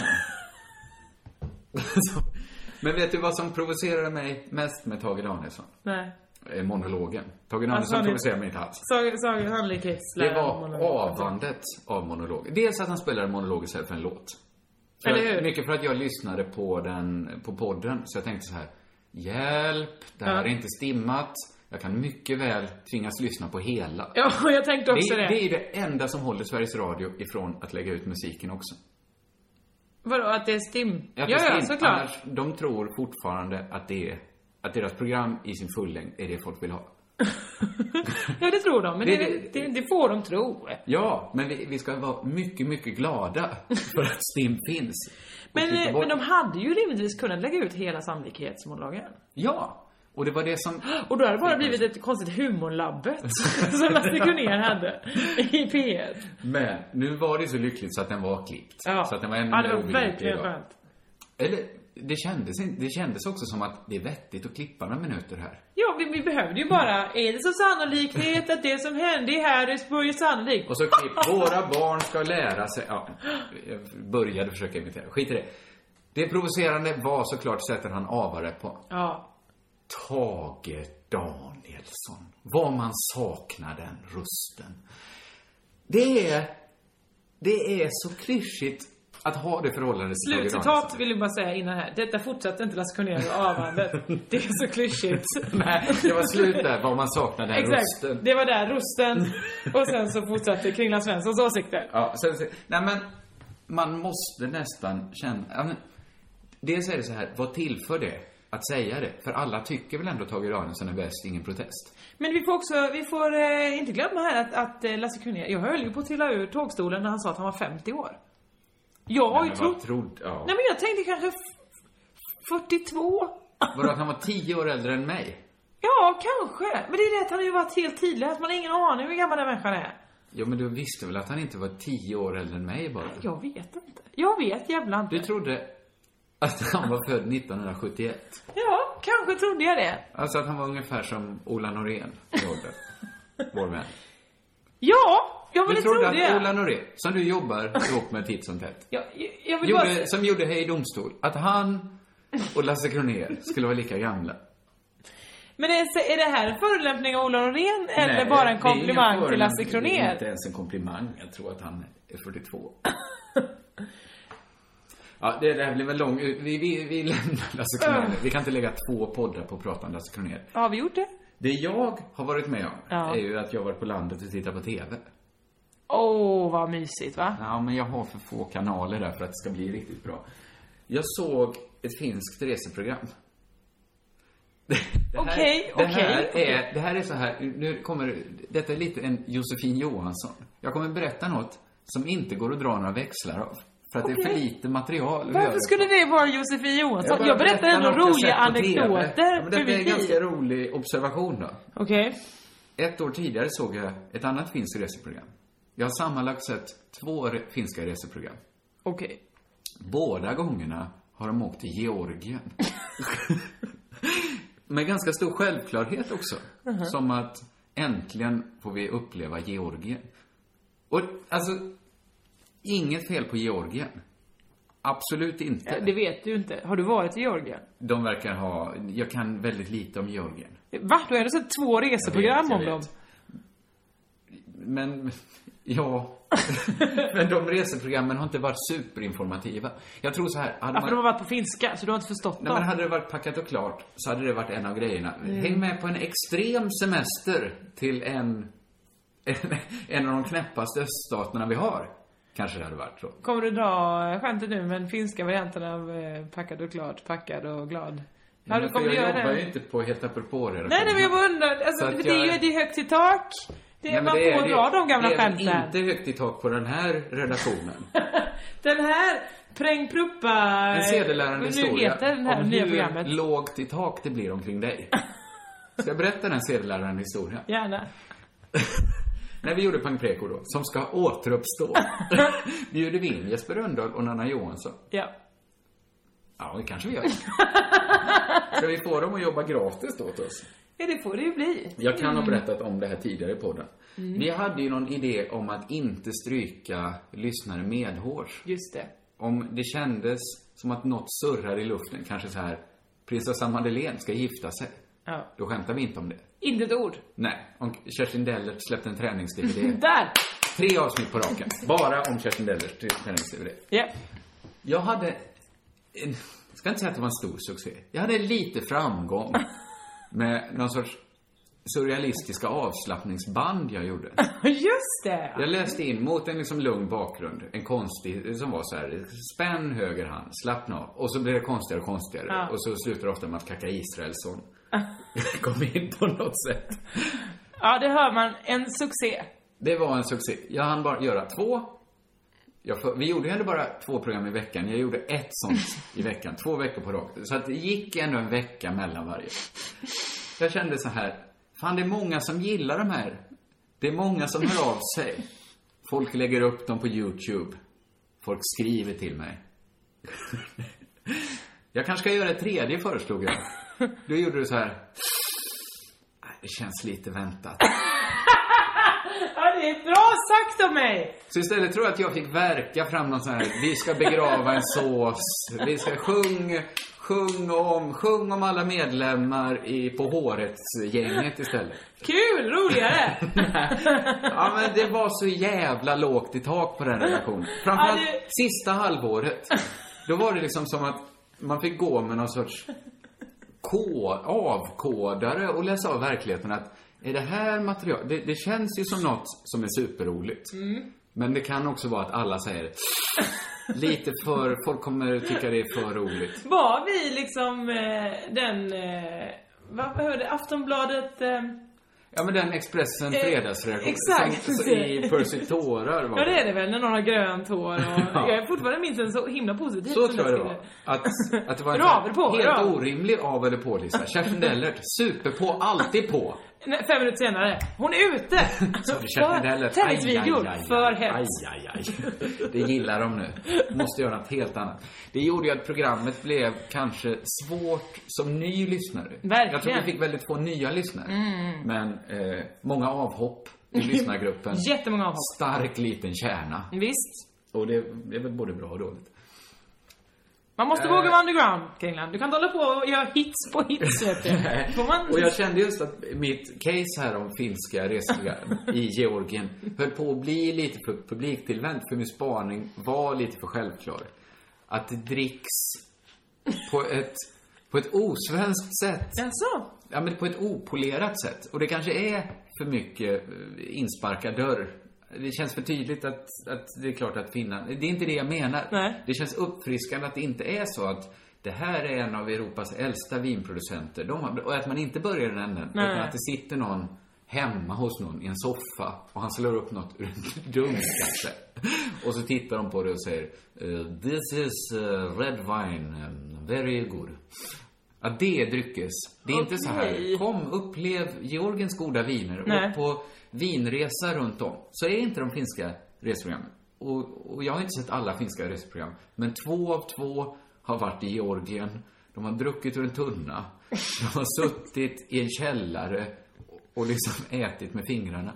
S2: Men vet du vad som provocerade mig mest med Tage Danielsson?
S3: Nej.
S2: Eh, monologen. Tage Danielsson
S3: Alltså, han är-
S2: provocerade mig inte alls.
S3: Saga Saga Sannolikhets
S2: Det var
S3: liksom.
S2: avandet av monologen. Dels att han spelade en monolog istället för en låt. För
S3: Eller
S2: att-
S3: hur?
S2: mycket för att jag lyssnade på den, på podden. Så jag tänkte så här. Hjälp, det här
S3: Ja.
S2: är inte stimmat. Jag kan mycket väl tvingas lyssna på hela.
S3: Ja, jag tänkte också
S2: Det,
S3: det.
S2: det är det enda som håller Sveriges Radio ifrån att lägga ut musiken också.
S3: Vadå, att det är stim? Ja,
S2: Att det
S3: ja,
S2: är stim.
S3: såklart.
S2: Annars, de tror fortfarande att det är, att deras program i sin fullängd är det folk vill ha.
S3: Ja, det tror de. Men
S2: Det-
S3: det, det, det, får de tro.
S2: Ja, men vi, vi ska vara mycket, mycket glada för att STIM finns. Och
S3: Men,
S2: klippa
S3: eh,
S2: bort-
S3: men de hade ju rimligtvis kunnat lägga ut hela sannolikhetsmonologen.
S2: Ja! Och det var det som...
S3: Och då hade det bara blivit ett konstigt humorlabbet som Lasse Kronér hade i P1.
S2: Men nu var det så lyckligt så att den var klippt.
S3: Ja,
S2: Så att den var ännu
S3: ja det
S2: mer
S3: var
S2: obegriplig
S3: verkligen
S2: idag.
S3: skönt.
S2: Eller, det kändes, inte- det kändes också som att det är vettigt att klippa några minuter här.
S3: Ja, vi, vi behövde ju bara,
S2: Mm.
S3: är det så sannolikhet att det som hände i Harrisburg är sannolikt?
S2: Och så klipp, våra barn ska lära sig... Ja, jag började försöka imitera. Skit i det. Det provocerande var såklart sättet han avade på.
S3: Ja.
S2: Tage Danielsson. Vad man saknar den rösten. Det är... Det är så klyschigt Att ha det förhållandet till Tage
S3: Slutcitat vill jag bara säga innan här. Detta fortsatte inte Lasse Cornelius och avhandlet. Det är så klyschigt.
S2: Nej, det var slut där, vad man saknar den
S3: Exakt.
S2: rösten.
S3: Det var där rosten. Och sen så fortsatte Kringlan Svenssons åsikter.
S2: Ja, sen, sen, nej men, man måste nästan känna... ja, men, Dels är det så här, vad tillför det att säga det? För alla tycker väl ändå Tage Danielsson är bäst, ingen protest.
S3: Men vi får också, vi får eh, inte glömma här att, att eh, Lasse Kronér, jag höll ju på att trilla ur tågstolen när han sa att han var 50 år. Jag har
S2: Nej,
S3: ju
S2: men vad
S3: trott...
S2: Trod, ja.
S3: Nej men jag tänkte kanske f- 42?
S2: Var det att han var tio år äldre än mig?
S3: Ja, kanske. Men det är det att han har ju varit helt tidlös. Man har ingen aning hur gammal den människan är.
S2: Ja, men du visste väl att han inte var tio år äldre än mig bara?
S3: Jag vet inte. Jag vet jävla inte.
S2: Du trodde att han var född 1971?
S3: Ja, kanske trodde jag det.
S2: Alltså att han var ungefär som Ola Norén i ålder. Vår vän.
S3: Ja, jag
S2: Du
S3: ville tro
S2: trodde att
S3: det.
S2: Ola Norén, som du jobbar ihop med titt som tätt,
S3: Jag, jag- jag vill bara...
S2: gjorde, som gjorde Hej Domstol, att han och Lasse Kronér skulle vara lika gamla.
S3: Men är, är det här en förolämpning av Ola Norén eller bara en komplimang till Lasse Kronér?
S2: inte ens en komplimang. Jag tror att han är 42. Ja, det där blev en lång... Vi, vi, vi lämnar Lasse Kronér nu. Vi kan inte lägga två poddar på att prata om Lasse Kronér.
S3: Har vi gjort det?
S2: Det jag har varit med om
S3: Ja.
S2: är ju att jag har varit på landet och tittat på TV.
S3: Åh, vad mysigt va?
S2: Ja, men jag har för få kanaler där för att det ska bli riktigt bra. Jag såg ett finskt reseprogram. Det här-
S3: Okej,
S2: det här
S3: okej,
S2: är- Det här är så här, nu kommer, detta är lite en Josefin Johansson. Jag kommer berätta något som inte går att dra några växlar av. För att det är för
S3: Okej.
S2: lite material att göra
S3: Varför
S2: det
S3: skulle det vara Josefin Johansson? Jag,
S2: bara
S3: berättar ändå
S2: något jag
S3: roliga
S2: sett på TV. Ja,
S3: anekdoter
S2: men
S3: för
S2: detta är en
S3: mitt liv.
S2: ganska rolig observation då.
S3: Okej.
S2: Ett år tidigare såg jag ett annat finskt reseprogram. Jag har sammanlagt sett två re- finska reseprogram.
S3: Okej.
S2: Båda gångerna har de åkt till Georgien. Med ganska stor självklarhet också.
S3: Mhm.
S2: Som att äntligen får vi uppleva Georgien. Och alltså, inget fel på Georgien. Absolut inte.
S3: Ja, det vet du inte. Har du varit i Georgien?
S2: De verkar ha, jag kan väldigt lite om Georgien.
S3: Va? Du har ändå sett två reseprogram
S2: jag
S3: om dem.
S2: vet. Men, ja. Men de reseprogrammen har inte varit superinformativa. Jag tror så här, hade
S3: Ja, för de har varit på finska, så du har inte förstått
S2: Nej,
S3: dem.
S2: men hade det varit packat och klart så hade det varit en av grejerna.
S3: Mm.
S2: Häng med på en extrem semester till en, en, en av de knäppaste öststaterna vi har. Kanske det hade varit så.
S3: Kommer du dra eh, skämtet nu, men finska varianten av eh, packad och klart, packad och glad? Ja,
S2: Men
S3: du
S2: för
S3: kommer
S2: jag
S3: göra
S2: jobbar ju
S3: det.
S2: inte på Helt apropå det.
S3: Nej, nej, men jag bara undrar.
S2: Så
S3: Alltså,
S2: att
S3: för det är
S2: jag-
S3: ju det är högt i tak. Det,
S2: Nej, men
S3: man
S2: det är
S3: får
S2: det.
S3: dra de gamla
S2: Det är väl
S3: skämten.
S2: inte högt i tak på den här redaktionen.
S3: Den här prängpruppa...
S2: En sedelärande
S3: vad nu
S2: historia
S3: heter den här
S2: om
S3: nya
S2: hur
S3: programmet.
S2: lågt i tak det blir omkring dig. Ska jag berätta den sedelärande historien?
S3: Gärna.
S2: När vi gjorde Pang Preko då, som ska återuppstå. Bjuder vi in Jesper Rönndahl och Nanna Johansson?
S3: Ja.
S2: Ja, det kanske vi gör. Ska vi få dem att jobba gratis då åt oss?
S3: ja, det får det ju bli.
S2: Jag kan ha berättat om det här tidigare i podden. Vi hade ju någon idé om att inte stryka lyssnare medhårs.
S3: Just det.
S2: Om det kändes som att något surrar i luften, kanske så här, prinsessan Madeleine ska gifta sig.
S3: Ja.
S2: Då skämtar vi inte om det.
S3: Inte ett ord.
S2: Nej, om Kerstin Dellert släppte en tränings-DVD.
S3: Där!
S2: Tre avsnitt på raken. Bara om Kerstin Dellerts tränings-DVD.
S3: Ja.
S2: Jag hade... En, jag ska inte säga att det var en stor succé. Jag hade lite framgång med någon sorts surrealistiska avslappningsband jag gjorde.
S3: Just det!
S2: Jag läste in mot en liksom lugn bakgrund, en konstig, som var så här, spänn höger hand, slappna av. Och så blev det konstigare och konstigare.
S3: Ja.
S2: Och så slutar det ofta med att Kaka Israelsson kom in på något sätt.
S3: Ja, det hör man. En succé.
S2: Det var en succé. Jag hann bara göra två. Jag, för- vi gjorde ju ändå bara två program i veckan. Jag gjorde ett sånt i veckan. Två veckor på rakt. Så att det gick ändå en vecka mellan varje. Jag kände så här. Fan, det är många som gillar de här. Det är många som hör av sig. Folk lägger upp dem på YouTube. Folk skriver till mig. Jag kanske ska göra ett tredje, föreslog jag. Då gjorde du så här. "Nej, Det känns lite väntat.
S3: Ja, det är bra sagt av mig!
S2: Så istället tror jag att jag fick verka fram någon sån här, vi ska begrava en sås, vi ska sjung, Sjung om, sjung om alla medlemmar i På håret-gänget istället.
S3: Kul! Roligare!
S2: Ja, men det var så jävla lågt i tak på den relationen. Framförallt
S3: Ja,
S2: sista halvåret. Då var det liksom som att man fick gå med någon sorts ko- avkodare och läsa av verkligheten att är det här material... Det, det känns ju som något som är superroligt.
S3: Mm.
S2: Men det kan också vara att alla säger lite för... Folk kommer tycka det är för roligt.
S3: Var vi liksom eh, den... Eh, vad vad hörde Aftonbladet... Eh,
S2: Ja, men den Expressen
S3: Eh,
S2: fredagsreaktion.
S3: exakt,
S2: som- som I Percy Tårar var
S3: ja det är det väl när någon har grönt hår och...
S2: Ja.
S3: Jag är fortfarande minst en så himla positiv
S2: Så tror jag det var.
S3: skriver.
S2: Att, att det var en
S3: Ravel på,
S2: helt
S3: ravel.
S2: orimlig av eller på-lista. Kerstin Dellert, super på, alltid på.
S3: Nej, fem minuter senare. Hon är ute!
S2: Så det Kerstin Dellert, aj,
S3: Tennisvideor.
S2: aj, aj,
S3: För
S2: aj,
S3: hets.
S2: aj, aj. Det gillar de nu. Måste göra något helt annat. Det gjorde ju att programmet blev kanske svårt som ny lyssnare.
S3: Verkligen.
S2: Jag tror vi fick väldigt få nya lyssnare.
S3: Mm.
S2: Men eh, många avhopp i lyssnargruppen.
S3: Jättemånga avhopp.
S2: Stark liten kärna.
S3: Visst.
S2: Och det det är väl både bra och dåligt.
S3: Man måste
S2: Eh.
S3: våga vara underground, Kringland. Du kan inte hålla på och göra hits på hits, vet du. Får man... liksom-
S2: Och jag kände just att mitt case här om finska resprogram i Georgien höll på att bli lite för publiktillvänt, för min spaning var lite för självklar. Att det dricks på ett, på ett osvenskt sätt.
S3: Jaså?
S2: Ja, men på ett opolerat sätt. Och det kanske är för mycket eh, insparkad dörr. Det känns för tydligt att, att det är klart att finna. Det är inte det jag menar. Det känns uppfriskande att det inte är så att det här är en av Europas äldsta vinproducenter. De har, och att man inte börjar i den änden.
S3: Nej.
S2: Utan att det sitter någon hemma hos någon i en soffa och han slår upp något ur en dunk kanske. Och så tittar de på det och säger eh, This is eh, red wine, eh, very good. Ja, det är dryckes. Det är inte så här,
S3: Okej.
S2: kom upplev Georgiens goda viner
S3: Nej.
S2: och på vinresa runt om. Så är inte de finska resprogrammen. Och, och jag har inte sett alla finska reseprogram. Men två av två har varit i Georgien. De har druckit ur en tunna. De har suttit i en källare och liksom ätit med fingrarna.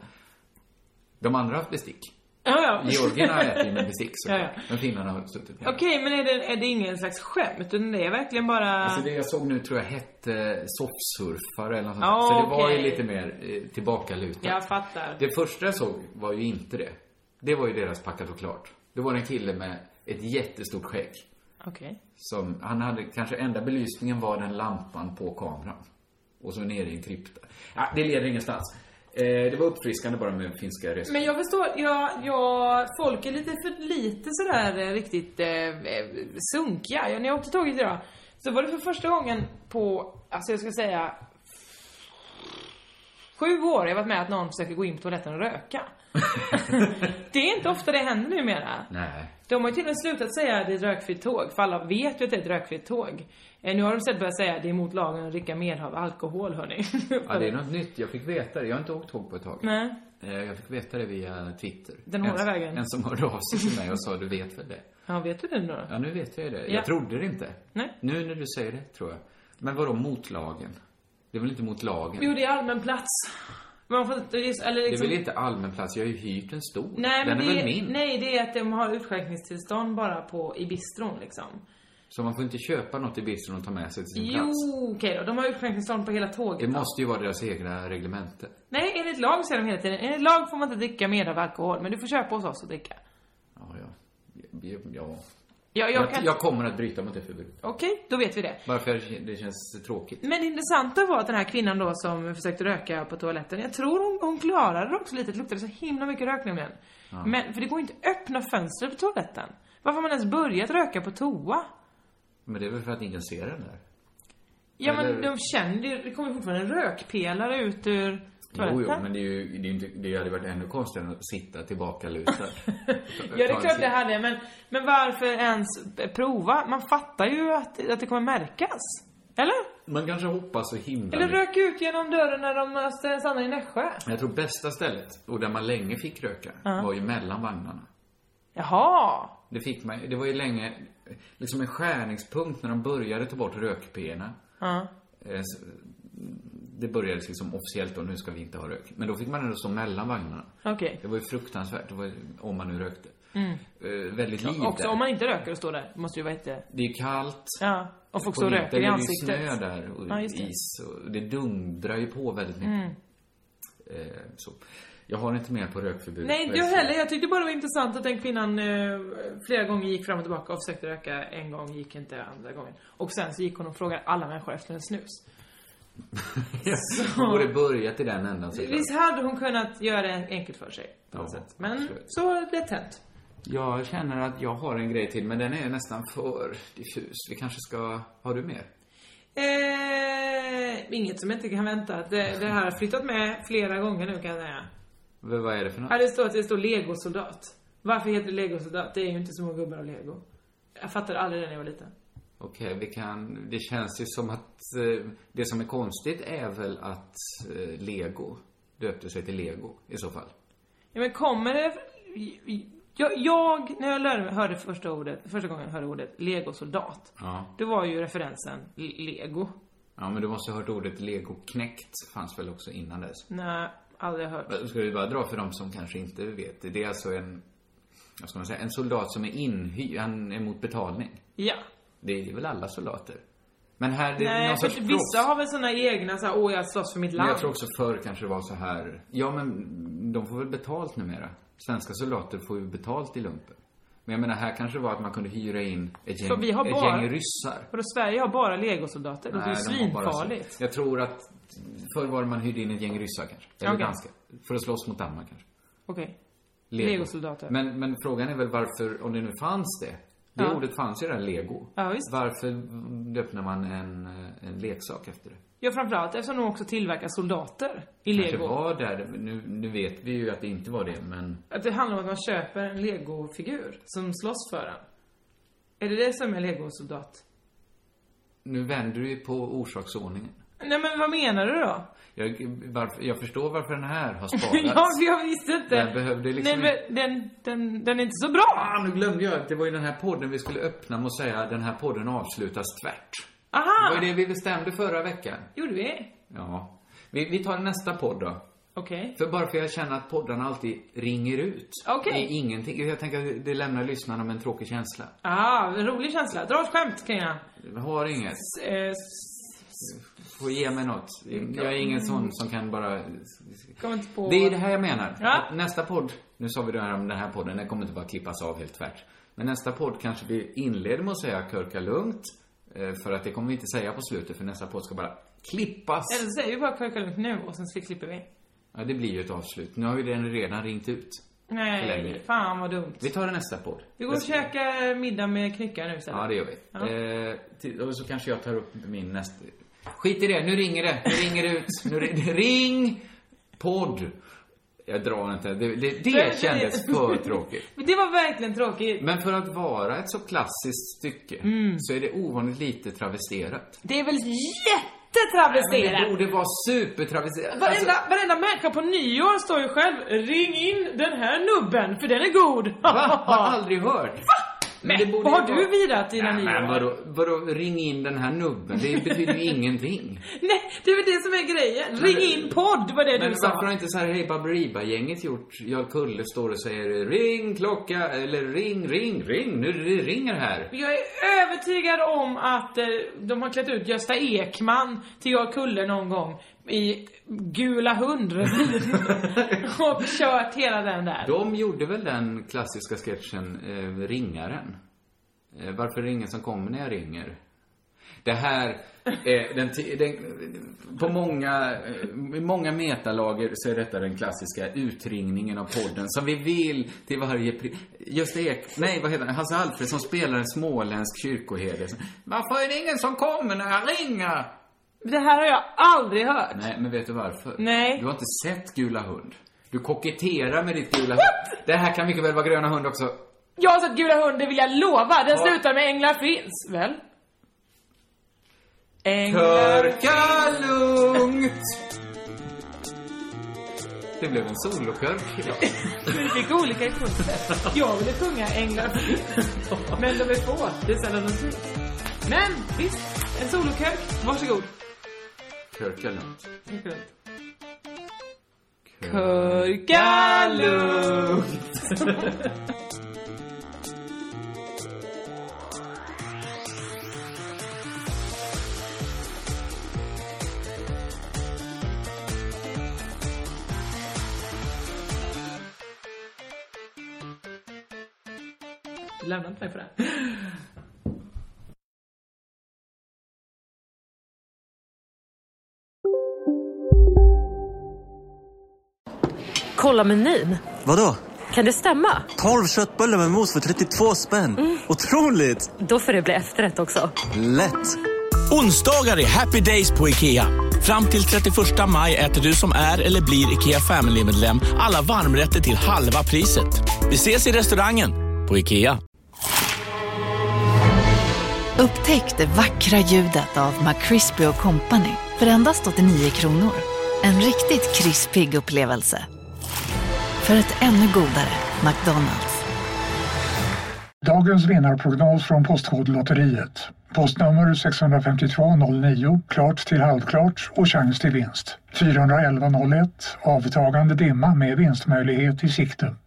S2: De andra har haft bestick.
S3: Ja, ja.
S2: Georgierna har ätit med bestick såklart.
S3: Ja,
S2: Men finnarna har suttit med.
S3: Okej, men är det, är det ingen slags skämt? Utan det är verkligen bara...
S2: Alltså det jag såg nu tror jag hette eh, soffsurfare eller något sånt.
S3: Ja,
S2: Så det var ju
S3: okej.
S2: lite mer eh, tillbakalutat.
S3: Jag fattar.
S2: Det första jag såg var ju inte det. Det var ju deras packat och klart. Det var en kille med ett jättestort skägg.
S3: Okej.
S2: Som, han hade, kanske enda belysningen var den lampan på kameran. Och så nere i en krypta. Ja, det leder ingenstans. Eh, det var uppfriskande bara med finska resor.
S3: Men jag förstår, jag, jag, folk är lite för lite sådär eh, riktigt eh, eh, sunkiga. Jag, när jag åkte tåget idag så var det för första gången på, alltså jag ska säga, sju år jag varit med att någon försöker gå in på toaletten och röka. det är inte ofta det händer numera.
S2: Nej.
S3: De har ju till och med slutat säga det är ett rökfritt tåg, för alla vet ju att det är ett rökfritt tåg. Eh, Nu har de istället börjat säga det är mot lagen att dricka mer av alkohol, hörni.
S2: Ja, det är något nytt. Jag fick veta det. Jag har inte åkt tåg på ett tag.
S3: Nej.
S2: Eh, Jag fick veta det via Twitter.
S3: Den hårda
S2: en,
S3: vägen.
S2: En som hörde av sig till mig och sa, du vet väl det?
S3: Ja, vet du det nu då?
S2: Ja, nu vet jag ju det.
S3: Ja.
S2: Jag trodde det inte.
S3: Nej.
S2: Nu när du säger det, tror jag. Men vadå mot lagen? Det är väl inte mot lagen?
S3: Jo, det är allmän plats. Men Man får inte, det är- eller
S2: det är
S3: liksom,
S2: väl inte allmän plats? Jag har ju hyrt en stol.
S3: Nej,
S2: Den
S3: men
S2: är
S3: det,
S2: väl min?
S3: nej, det är att de har utskänkningstillstånd bara på, i bistron liksom.
S2: Så man får inte köpa något i bistron och ta med sig till sin
S3: Jo,
S2: plats?
S3: okej då. De har utskänkningstillstånd på hela
S2: Det
S3: tåget. då.
S2: måste ju vara deras egna reglemente.
S3: Nej, enligt lag säger de hela tiden. Enligt lag får man inte dricka mer av alkohol, men du får köpa hos oss och dricka.
S2: Ja, ja. Ja, ja.
S3: Ja, jag kan-
S2: jag kommer att bryta mot det förbudet.
S3: Okej, då vet vi det.
S2: Varför det känns tråkigt.
S3: Men det intressanta var att den här kvinnan då som försökte röka på toaletten, jag tror hon, hon klarade det också lite, det luktade så himla mycket rök nämligen.
S2: Ja.
S3: Men, för det går ju inte att öppna fönstret på toaletten. Varför har man ens börjat röka på toa?
S2: Men det är väl för att ingen ser den där?
S3: Ja men
S2: Eller-
S3: de känner ju- det kommer ju fortfarande en rökpelare ut ur toaletten.
S2: Jo, jo, men det, är ju, det, är inte, det hade varit ännu konstigare än att sitta tillbaka lutad.
S3: Ja det är klart det hade men, men varför ens prova? Man fattar ju att, att det kommer märkas. Eller?
S2: Man kanske hoppas så himla
S3: Eller
S2: mycket.
S3: rök ut genom dörren när de st- stannar i Nässjö.
S2: Jag tror bästa stället, och där man länge fick röka,
S3: Ja.
S2: var ju mellan vagnarna.
S3: Jaha!
S2: Det fick man ju- det var ju länge, liksom en skärningspunkt när de började ta bort rökpena.
S3: Ja.
S2: Eh, så- Det började liksom officiellt då, nu ska vi inte ha rök. Men då fick man ändå stå mellan vagnarna.
S3: Okej.
S2: Det var ju fruktansvärt, det var, ju- om man nu rökte.
S3: Mm.
S2: eh, väldigt liv
S3: Också
S2: där.
S3: om man inte röker och står där. Måste ju vara jätte...
S2: Det är kallt.
S3: Ja. Och folk
S2: På
S3: står och
S2: vintern
S3: röker i
S2: är det ju
S3: ansiktet.
S2: snö där och
S3: Ja, just det.
S2: is och det dundrar ju på väldigt mycket.
S3: Mm.
S2: Eh, så. Jag har inte mer på rökförbud.
S3: Nej, jag heller. Jag tyckte bara det var intressant att den kvinnan eh, flera gånger gick fram och tillbaka och försökte röka. En gång gick inte, andra gången. Och sen så gick hon och frågade alla människor efter en snus.
S2: Man borde börjat i den ändan såklart.
S3: Visst hade hon kunnat göra det enkelt för sig? På något
S2: Ja,
S3: sätt. Men så lätt hänt.
S2: Jag känner att jag har en grej till, men den är nästan för diffus. Vi kanske ska... Har du mer?
S3: Eh, inget som inte kan vänta. Det, det här har flyttat med flera gånger nu kan jag säga.
S2: V- vad är det för något?
S3: Ja, det står att det står legosoldat. Varför heter det legosoldat? Det är ju inte så många gubbar av lego. Jag fattade aldrig det när jag var liten.
S2: Okej, vi kan... Det känns ju som att... Eh, det som är konstigt är väl att eh, Lego döpte sig till Lego i så fall.
S3: Ja, men kommer det... Jag, jag när jag lärde mig, hörde första ordet, första gången jag hörde ordet legosoldat.
S2: Ja.
S3: Det var ju referensen le- lego.
S2: Ja, men du måste ha hört ordet legoknekt fanns väl också innan dess?
S3: Nej, aldrig hört.
S2: Ska vi bara dra för dem som kanske inte vet. Det är alltså en... Vad ska man säga? En soldat som är inhyrd. Han är mot betalning.
S3: Ja.
S2: Det är väl alla soldater? Men här, det är
S3: Nej,
S2: någon
S3: för
S2: sorts proffs.
S3: vissa har väl såna egna så här, åh jag slåss för mitt
S2: Men
S3: land.
S2: jag tror också förr kanske det var så här. Ja, men de får väl betalt numera. Svenska soldater får ju betalt i lumpen. Men jag menar, här kanske det var att man kunde hyra in ett gäng,
S3: För vi har
S2: ett
S3: bara-
S2: gäng ryssar.
S3: Vadå, Sverige har bara legosoldater? Det låter ju
S2: de har bara så-
S3: svinfarligt.
S2: Jag tror att förr var det man hyrde in ett gäng ryssar kanske. Eller
S3: Okej.
S2: danskar. För att slåss mot Danmark kanske.
S3: Okej.
S2: Lego.
S3: Legosoldater.
S2: Men, men frågan är väl varför, om det nu fanns det. Det
S3: Ja.
S2: ordet fanns ju där, lego.
S3: Ja, visst.
S2: Varför öppnar man en, en leksak efter det?
S3: Ja, framförallt eftersom de också tillverkar soldater i
S2: Kanske
S3: lego.
S2: var där, nu, nu vet vi ju att det inte var det, men
S3: Att det handlar om att man köper en legofigur som slåss för en. Är det det som är legosoldat?
S2: nu vänder du ju på orsaksordningen.
S3: Nej men vad menar du då?
S2: Jag, varför, jag förstår varför den här har
S3: ja,
S2: sparats.
S3: för jag visste inte.
S2: Den behövde liksom
S3: Nej men den, den, den är inte så bra.
S2: Ah, nu glömde jag att det var ju den här podden vi skulle öppna med att säga den här podden avslutas tvärt.
S3: Aha!
S2: Det var ju det vi bestämde förra veckan.
S3: Gjorde vi?
S2: Ja. Vi, vi tar nästa podd då.
S3: Okej.
S2: För bara för jag känner att poddarna alltid ringer ut.
S3: Okej.
S2: Det är ingenting. Jag tänker att det lämnar lyssnarna med en tråkig känsla.
S3: Ah, en rolig känsla. Dra ett skämt kring den.
S2: Jag har inget.
S3: S- eh, s-
S2: Får ge mig något. Jag är ingen sån som kan bara...
S3: Kommer inte på...
S2: Det är det här jag menar.
S3: Ja.
S2: Att nästa podd, nu sa vi det här om den här podden, den kommer inte bara klippas av helt tvärt. Men nästa podd kanske vi inleder med att säga körka lugnt. eh, För att det kommer vi inte säga på slutet, för nästa podd ska bara klippas.
S3: Eller så säger vi bara Kajka lugnt nu och sen så klipper vi.
S2: Ja, det blir ju ett avslut. Nu har ju den redan ringt ut.
S3: Nej,
S2: Förlänger.
S3: fan vad dumt.
S2: Vi tar det nästa podd.
S3: Vi går och käkar middag med knyckar nu istället.
S2: Ja, det gör vi.
S3: Ja.
S2: Eh, till- och så kanske jag tar upp min nästa... Skit i det, nu ringer det. Nu ringer det ut. Nu ri- ring podd. Jag drar inte. Det, det, det kändes för tråkigt.
S3: Men det var verkligen tråkigt.
S2: Men för att vara ett så klassiskt stycke
S3: Mm.
S2: så är det ovanligt lite travesterat.
S3: Det är väl
S2: Men det
S3: jättetravesterat!
S2: borde vara supertravesterat. Alltså,
S3: Varenda, varenda människa på nyår står ju själv Ring in den här nubben för den är god!
S2: va? Har aldrig hört.
S3: Men,
S2: det borde
S3: vad har
S2: ju
S3: du virat dina
S2: Nej, men
S3: nyår?
S2: vadå, vadå, ring in den här nubben. Det betyder ju ingenting.
S3: Nej, det är väl det som är grejen. Ring in podd var
S2: Men
S3: det du
S2: varför har
S3: sa.
S2: inte så här Hej Baberiba-gänget gjort? Jag Kulle står och säger ring klocka eller ring, ring, ring. Nu det ringer här.
S3: Jag är övertygad om att eh, de har klätt ut Gösta Ekman till jag och Kulle någon gång i Gula hund och kört hela den där.
S2: De gjorde väl den klassiska sketchen eh, Ringaren? Eh, varför är det ingen som kommer när jag ringer? Det här, eh, den, ti- den, på många, eh, i många metalager så är detta den klassiska utringningen av podden som vi vill till varje pris. Gösta Ek, nej vad heter han, Hasse Alfred som spelar en småländsk kyrkoherde. Varför är det ingen som kommer när jag ringer?
S3: Det här har jag aldrig hört.
S2: Nej, men vet du varför?
S3: Nej.
S2: Du har inte sett Gula Hund. Du koketterar med ditt Gula Hund. Det här kan mycket väl vara Gröna Hund också.
S3: Jag har sett Gula Hund, det vill jag lova. Den slutar med Änglar finns, väl? Änglar
S2: Körka lugnt! Det blev en solokörk idag.
S3: Vi fick olika impulser. Jag ville sjunga Änglar finns. Men de är få, det är sällan de syns. Men visst, en solokök. Varsågod.
S2: Körka lugnt.
S3: Mycket lugnt.
S2: Körka
S3: lugnt. Du lämnar inte mig för det.
S9: Kolla menyn.
S10: Vadå?
S9: Kan det stämma?
S10: 12 köttbullar med mos för 32 spänn. Otroligt!
S9: Mm. Då får det bli efterrätt också.
S10: Lätt!
S11: Onsdagar är happy days på IKEA. Fram till 31 maj äter du som är eller blir IKEA Family-medlem alla varmrätter till halva priset. Vi ses i restaurangen på IKEA.
S1: Upptäck det vackra ljudet av McCrispy Company för endast 89 kronor. En riktigt krispig upplevelse. För ett ännu godare McDonalds.
S12: Dagens vinnarprognos från Postkodlotteriet. Postnummer 65209, klart till halvklart och chans till vinst. 41101, avtagande dimma med vinstmöjlighet i sikte.